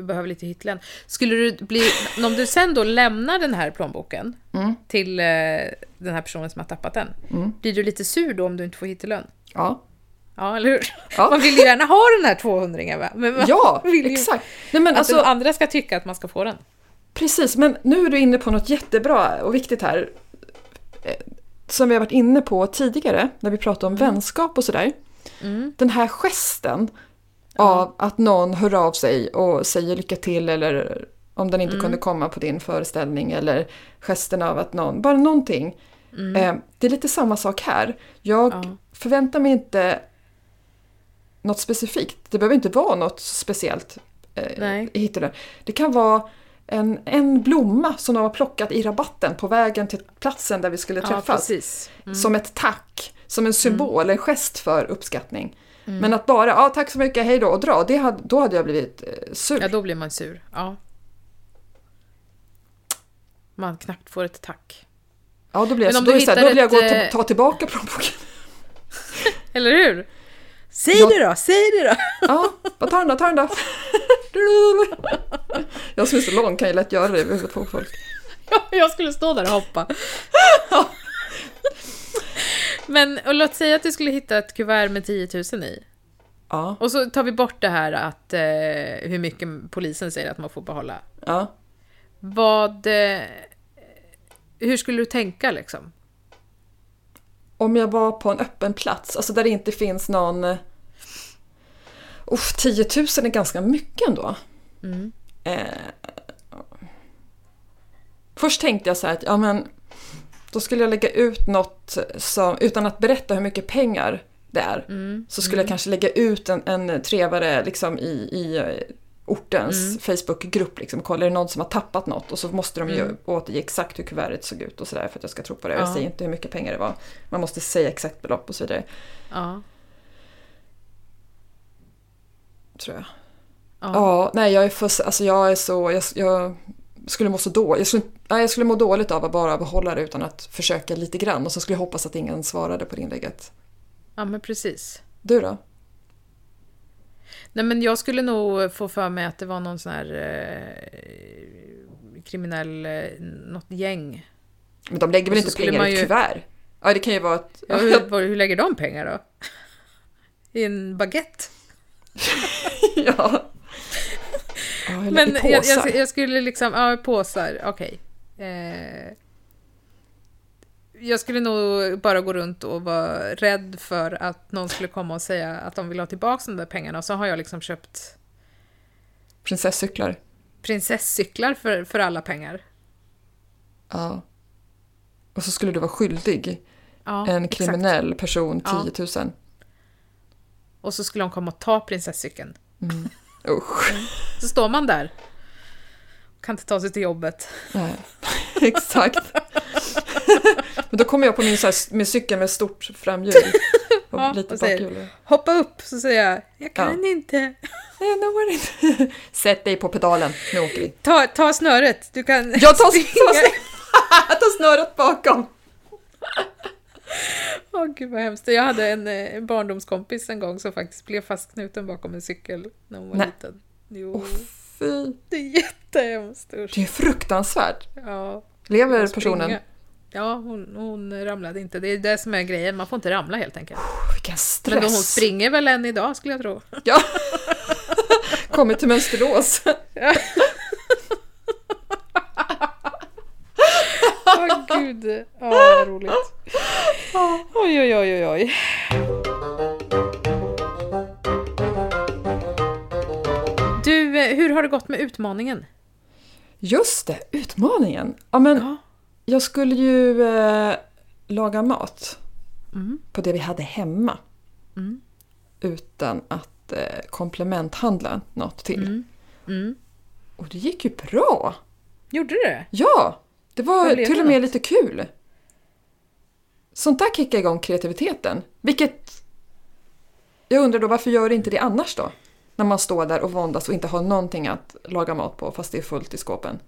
Speaker 2: behöver lite hyttlen. Skulle du bli, om du sen då lämnar den här plånboken till eh, den här personen som har tappat den, blir du lite sur då om du inte får hittelön?
Speaker 1: Ja,
Speaker 2: Ja, eller hur?
Speaker 1: Ja.
Speaker 2: Man vill ju gärna ha den här 200 va? Men man
Speaker 1: ja
Speaker 2: vill ju
Speaker 1: exakt. Nej, men
Speaker 2: Att
Speaker 1: alltså,
Speaker 2: den andra ska tycka att man ska få den.
Speaker 1: Precis, men nu är du inne på något jättebra och viktigt här. eh, Som vi har varit inne på tidigare när vi pratade om vänskap och sådär. Den här gesten av att någon hör av sig och säger lycka till eller om den inte kunde komma på din föreställning eller gesten av att någon, bara någonting. Eh, Det är lite samma sak här. Jag förväntar mig inte något specifikt. Det behöver inte vara något speciellt eh,
Speaker 2: Nej.
Speaker 1: i hittelön. Det kan vara en, en blomma som de har plockat i rabatten på vägen till platsen där vi skulle träffas.
Speaker 2: precis.
Speaker 1: som ett tack, som
Speaker 2: Mm.
Speaker 1: en symbol, en gest för uppskattning. Men att bara, ja tack så mycket, hej då och dra, det hade, då hade jag blivit eh, sur.
Speaker 2: Ja, då blir man sur. Ja. Man knappt får ett tack.
Speaker 1: Ja, då blir jag,
Speaker 2: Men
Speaker 1: så,
Speaker 2: om
Speaker 1: då,
Speaker 2: du
Speaker 1: är det så här, då
Speaker 2: hittar
Speaker 1: vill jag gå och
Speaker 2: ett,
Speaker 1: ta,
Speaker 2: eh,
Speaker 1: ta tillbaka plånboken.
Speaker 2: Eller hur? Säg
Speaker 1: Jag-
Speaker 2: det då, säg det då!
Speaker 1: Ja, bara ta den då, ta den då. Jag som är så lång kan ju lätt göra det i huvudet på folk.
Speaker 2: Jag skulle stå där och hoppa. Men och låt säga att du skulle hitta ett kuvert med 10 000 i.
Speaker 1: Ja,
Speaker 2: Och så tar vi bort det här att eh, hur mycket polisen säger att man får behålla.
Speaker 1: ja.
Speaker 2: Vad... Eh, hur skulle du tänka liksom?
Speaker 1: Om jag var på en öppen plats, alltså där det inte finns någon... eh, Uff, 10 000 är ganska mycket ändå.
Speaker 2: Mm.
Speaker 1: Eh, först tänkte jag så här att, ja men... Då skulle jag lägga ut något som, utan att berätta hur mycket pengar det är. Så skulle jag kanske lägga ut en, en trevare liksom i, i eh, ortens Facebookgrupp. Liksom. Kolla, är det någon som har tappat något? Och så måste de ju återge exakt hur kuvertet såg ut och sådär för att jag ska tro på det. Jag
Speaker 2: Ja.
Speaker 1: säger inte hur mycket pengar det var. Man måste säga exakt belopp och så vidare.
Speaker 2: Ja.
Speaker 1: Tror jag.
Speaker 2: Ja.
Speaker 1: Ja, nej jag är för, alltså jag är så, jag, jag skulle må så dåligt. Jag skulle, nej, jag skulle må dåligt av att bara behålla det utan att försöka lite grann. Och så skulle jag hoppas att ingen svarade på det inlägget.
Speaker 2: ja, men precis.
Speaker 1: Du då?
Speaker 2: Nej, men jag skulle nog få för mig att det var någon sån här eh, kriminell... Eh, något gäng.
Speaker 1: Men de lägger väl
Speaker 2: Och så
Speaker 1: inte
Speaker 2: skulle
Speaker 1: pengar i
Speaker 2: man
Speaker 1: ett
Speaker 2: ju-
Speaker 1: kuvert? Ja, det kan ju vara ett...
Speaker 2: Ja, hur, var, hur lägger de pengar då? I en baguette?
Speaker 1: ja. ja eller
Speaker 2: Men
Speaker 1: i
Speaker 2: jag,
Speaker 1: påsar.
Speaker 2: jag, jag skulle liksom, ja påsar, okej. Eh, jag skulle nog bara gå runt och vara rädd för att någon skulle komma och säga att de vill ha tillbaka de där pengarna och så har jag liksom köpt
Speaker 1: Prinsesscyklar.
Speaker 2: prinsesscyklar för, för alla pengar.
Speaker 1: Ja. Och så skulle du vara skyldig
Speaker 2: Ja,
Speaker 1: en
Speaker 2: exakt.
Speaker 1: kriminell person
Speaker 2: Ja.
Speaker 1: 10 000.
Speaker 2: Och så skulle de komma och ta prinsesscykeln.
Speaker 1: Usch.
Speaker 2: Så står man där. Kan inte ta sig till jobbet.
Speaker 1: Nej. Exakt. Men då kommer jag på min, så här, min cykel med stort framhjul och
Speaker 2: Ja,
Speaker 1: lite
Speaker 2: och säger-
Speaker 1: bakhjul.
Speaker 2: Hoppa upp, så säger jag, jag kan inte.
Speaker 1: Nej, jag når inte. Sätt dig på pedalen, nu åker vi.
Speaker 2: Ta, ta snöret, du kan...
Speaker 1: Jag tar, ta, ta snöret bakom.
Speaker 2: Åh gud vad hemskt. Jag hade en, eh, en barndomskompis en gång som faktiskt blev fastknuten bakom en cykel när hon var
Speaker 1: Nej.
Speaker 2: liten. Jo,
Speaker 1: Åh fy,
Speaker 2: det är jättehemskt. usch.
Speaker 1: det är fruktansvärt.
Speaker 2: Ja,
Speaker 1: Lever
Speaker 2: hon springa.
Speaker 1: personen?
Speaker 2: Ja, hon, hon ramlade inte. Det är det som är grejen, man får inte ramla helt enkelt.
Speaker 1: Åh, vilken stress.
Speaker 2: Men då hon springer väl än idag skulle jag tro.
Speaker 1: Ja. Kommer till Mönsterås.
Speaker 2: gud. Ja, vad roligt. Ah, Oj, oj, oj, oj, oj. Du, eh, hur har det gått med utmaningen?
Speaker 1: Just det, utmaningen! Ja, men
Speaker 2: Ja.
Speaker 1: Jag skulle ju eh, laga mat
Speaker 2: Mm.
Speaker 1: på det vi hade hemma.
Speaker 2: Mm.
Speaker 1: Utan att eh, komplementhandla något till.
Speaker 2: Mm. Mm.
Speaker 1: Och det gick ju bra!
Speaker 2: Gjorde du det?
Speaker 1: Ja! Det
Speaker 2: Vad
Speaker 1: var
Speaker 2: blev
Speaker 1: till
Speaker 2: det
Speaker 1: och med lite kul. Sånt där kickar igång kreativiteten. Vilket... Jag undrar då, varför gör inte det annars då? När man står där och våndas och inte har någonting att laga mat på fast det är fullt i skåpen.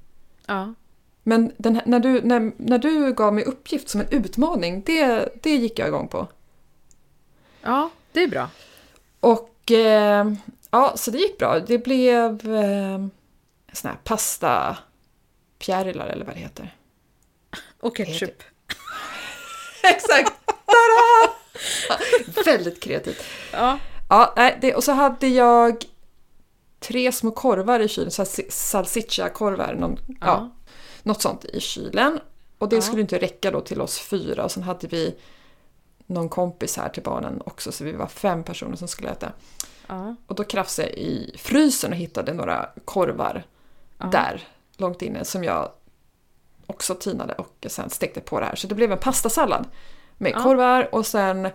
Speaker 2: Ja.
Speaker 1: Men den här, när, du, när, när du gav mig uppgift som en utmaning, det, det gick jag igång på.
Speaker 2: Ja, det är bra.
Speaker 1: Och eh, ja, så det gick bra. Det blev eh, såna här pasta eller vad det heter.
Speaker 2: Och ketchup.
Speaker 1: Exakt! Tada! Väldigt kreativt.
Speaker 2: Ja.
Speaker 1: Ja, nej, det, och så hade jag tre små korvar i kylen, så här si- salsiccia-korvar, någon, ja.
Speaker 2: Ja.
Speaker 1: något sånt i kylen. Och det
Speaker 2: Ja.
Speaker 1: skulle inte räcka då till oss fyra och sen hade vi någon kompis här till barnen också så vi var fem personer som skulle äta.
Speaker 2: Ja.
Speaker 1: Och då krafsade jag i frysen och hittade några korvar där, långt inne, som jag också tinade och sen stekte på det här. Så det blev en pastasallad med
Speaker 2: Ja.
Speaker 1: korvar och sen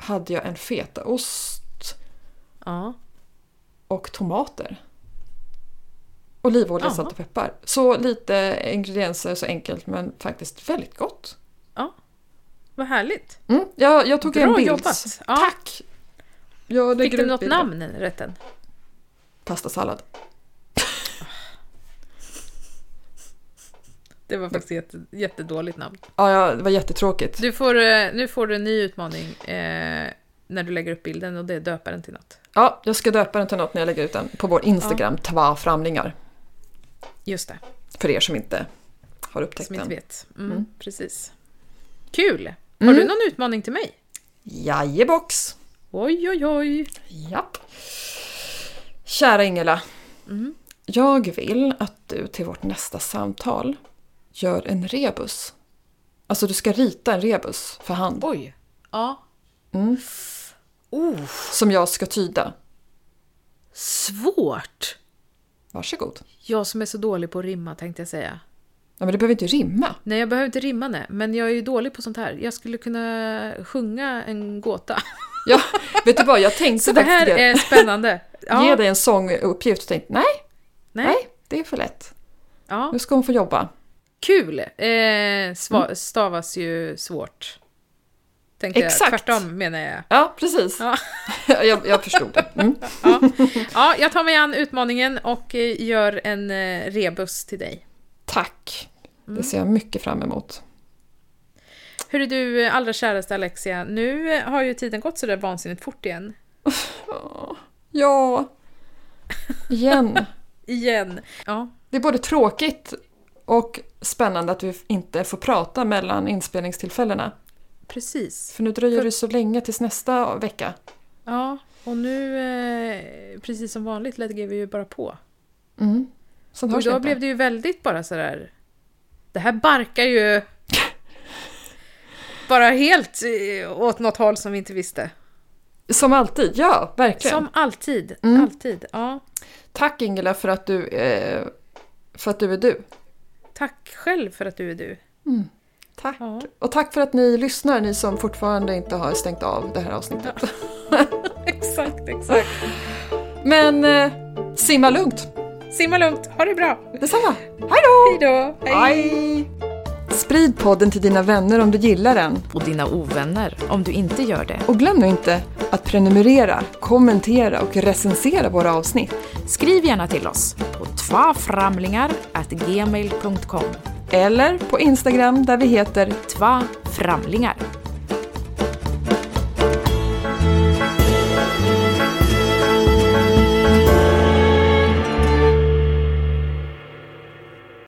Speaker 1: hade jag en fetaost
Speaker 2: ja.
Speaker 1: och tomater. Olivolja,
Speaker 2: Ja.
Speaker 1: salt och peppar. Så lite ingredienser, så enkelt men faktiskt väldigt gott.
Speaker 2: Vad härligt.
Speaker 1: Mm. Jag, jag tog
Speaker 2: Bra
Speaker 1: en bild.
Speaker 2: jobbat. Ja.
Speaker 1: Tack! Jag
Speaker 2: Fick
Speaker 1: lägger
Speaker 2: du
Speaker 1: ut
Speaker 2: något
Speaker 1: bilden.
Speaker 2: namn, rätten?
Speaker 1: Pastasallad.
Speaker 2: Det var faktiskt jätte, jättedåligt namn.
Speaker 1: Ja, ja, det var jättetråkigt.
Speaker 2: Du får, eh, nu får du en ny utmaning eh, när du lägger upp bilden och det är döpa den till något.
Speaker 1: Ja, jag ska döpa den till något när jag lägger ut den på vår Instagram, Tva Framlingar.
Speaker 2: Just det,
Speaker 1: För er som inte har upptäckt
Speaker 2: som inte
Speaker 1: den.
Speaker 2: vet. Mm, Precis. Kul! Har
Speaker 1: Mm.
Speaker 2: du någon utmaning till mig?
Speaker 1: Jajebox!
Speaker 2: Oj, oj, oj.
Speaker 1: Japp. Kära Ingela.
Speaker 2: Mm.
Speaker 1: Jag vill att du till vårt nästa samtal gör en rebus. Alltså du ska rita en rebus för hand
Speaker 2: Oj. Ja.
Speaker 1: Mm.
Speaker 2: Oh,
Speaker 1: som jag ska tyda.
Speaker 2: svårt!
Speaker 1: Varsågod.
Speaker 2: Jag som är så dålig på att rimma tänkte jag säga.
Speaker 1: Ja, men det behöver inte rimma.
Speaker 2: Nej, jag behöver inte rimma nej, men jag är ju dålig på sånt här. Jag skulle kunna sjunga en gåta.
Speaker 1: Ja, vet du vad, jag tänkte
Speaker 2: Så det här
Speaker 1: faktiskt det.
Speaker 2: är spännande. Ja,
Speaker 1: Ge dig en sånguppgift och tänkte nej,
Speaker 2: nej,
Speaker 1: nej, Mm. det är för lätt.
Speaker 2: ja.
Speaker 1: Nu ska hon få jobba.
Speaker 2: Kul! Eh, sva-
Speaker 1: Mm.
Speaker 2: Stavas ju svårt. Tänkte
Speaker 1: Exakt.
Speaker 2: jag. Tvärtom menar jag.
Speaker 1: Ja, precis.
Speaker 2: Ja.
Speaker 1: jag, jag förstod det. Mm.
Speaker 2: Ja, jag tar mig an utmaningen och eh, gör en eh, rebus till dig.
Speaker 1: Tack.
Speaker 2: Mm.
Speaker 1: Det ser jag mycket fram emot.
Speaker 2: Hur är du, eh, allra käraste Alexia? Nu eh, har ju tiden gått så där vansinnigt fort igen.
Speaker 1: Ja, igen.
Speaker 2: Igen. Ja,
Speaker 1: Det är både tråkigt och spännande att vi inte får prata mellan inspelningstillfällena.
Speaker 2: precis.
Speaker 1: För nu dröjer det så länge tills nästa vecka.
Speaker 2: Ja, och nu, eh, precis som vanligt, lägger vi ju bara på.
Speaker 1: Mm. Sen
Speaker 2: Och
Speaker 1: hörs vi
Speaker 2: då
Speaker 1: inte.
Speaker 2: blev det ju väldigt bara sådär... Det här barkar ju... Bara helt eh, åt något håll som vi inte visste.
Speaker 1: Som alltid, ja, verkligen.
Speaker 2: Som alltid. Alltid. Ja.
Speaker 1: Tack Ingela för att du, eh, för att du är du.
Speaker 2: Tack själv för att du är du.
Speaker 1: Tack.
Speaker 2: Ja.
Speaker 1: Och tack för att ni lyssnar, ni som fortfarande inte har stängt av det här avsnittet.
Speaker 2: Exakt, exakt.
Speaker 1: Men eh, simma lugnt.
Speaker 2: Simma lugnt. Ha det bra.
Speaker 1: Detsamma. Hej då!
Speaker 2: Hej då.
Speaker 1: Hej! Sprid podden till dina vänner om du gillar den.
Speaker 3: och dina ovänner om du inte gör det.
Speaker 1: Och glöm nu inte att prenumerera, kommentera och recensera våra avsnitt.
Speaker 3: Skriv gärna till oss på tvaframlingar.gmail.com
Speaker 1: Eller på Instagram där vi heter
Speaker 3: Tvaframlingar.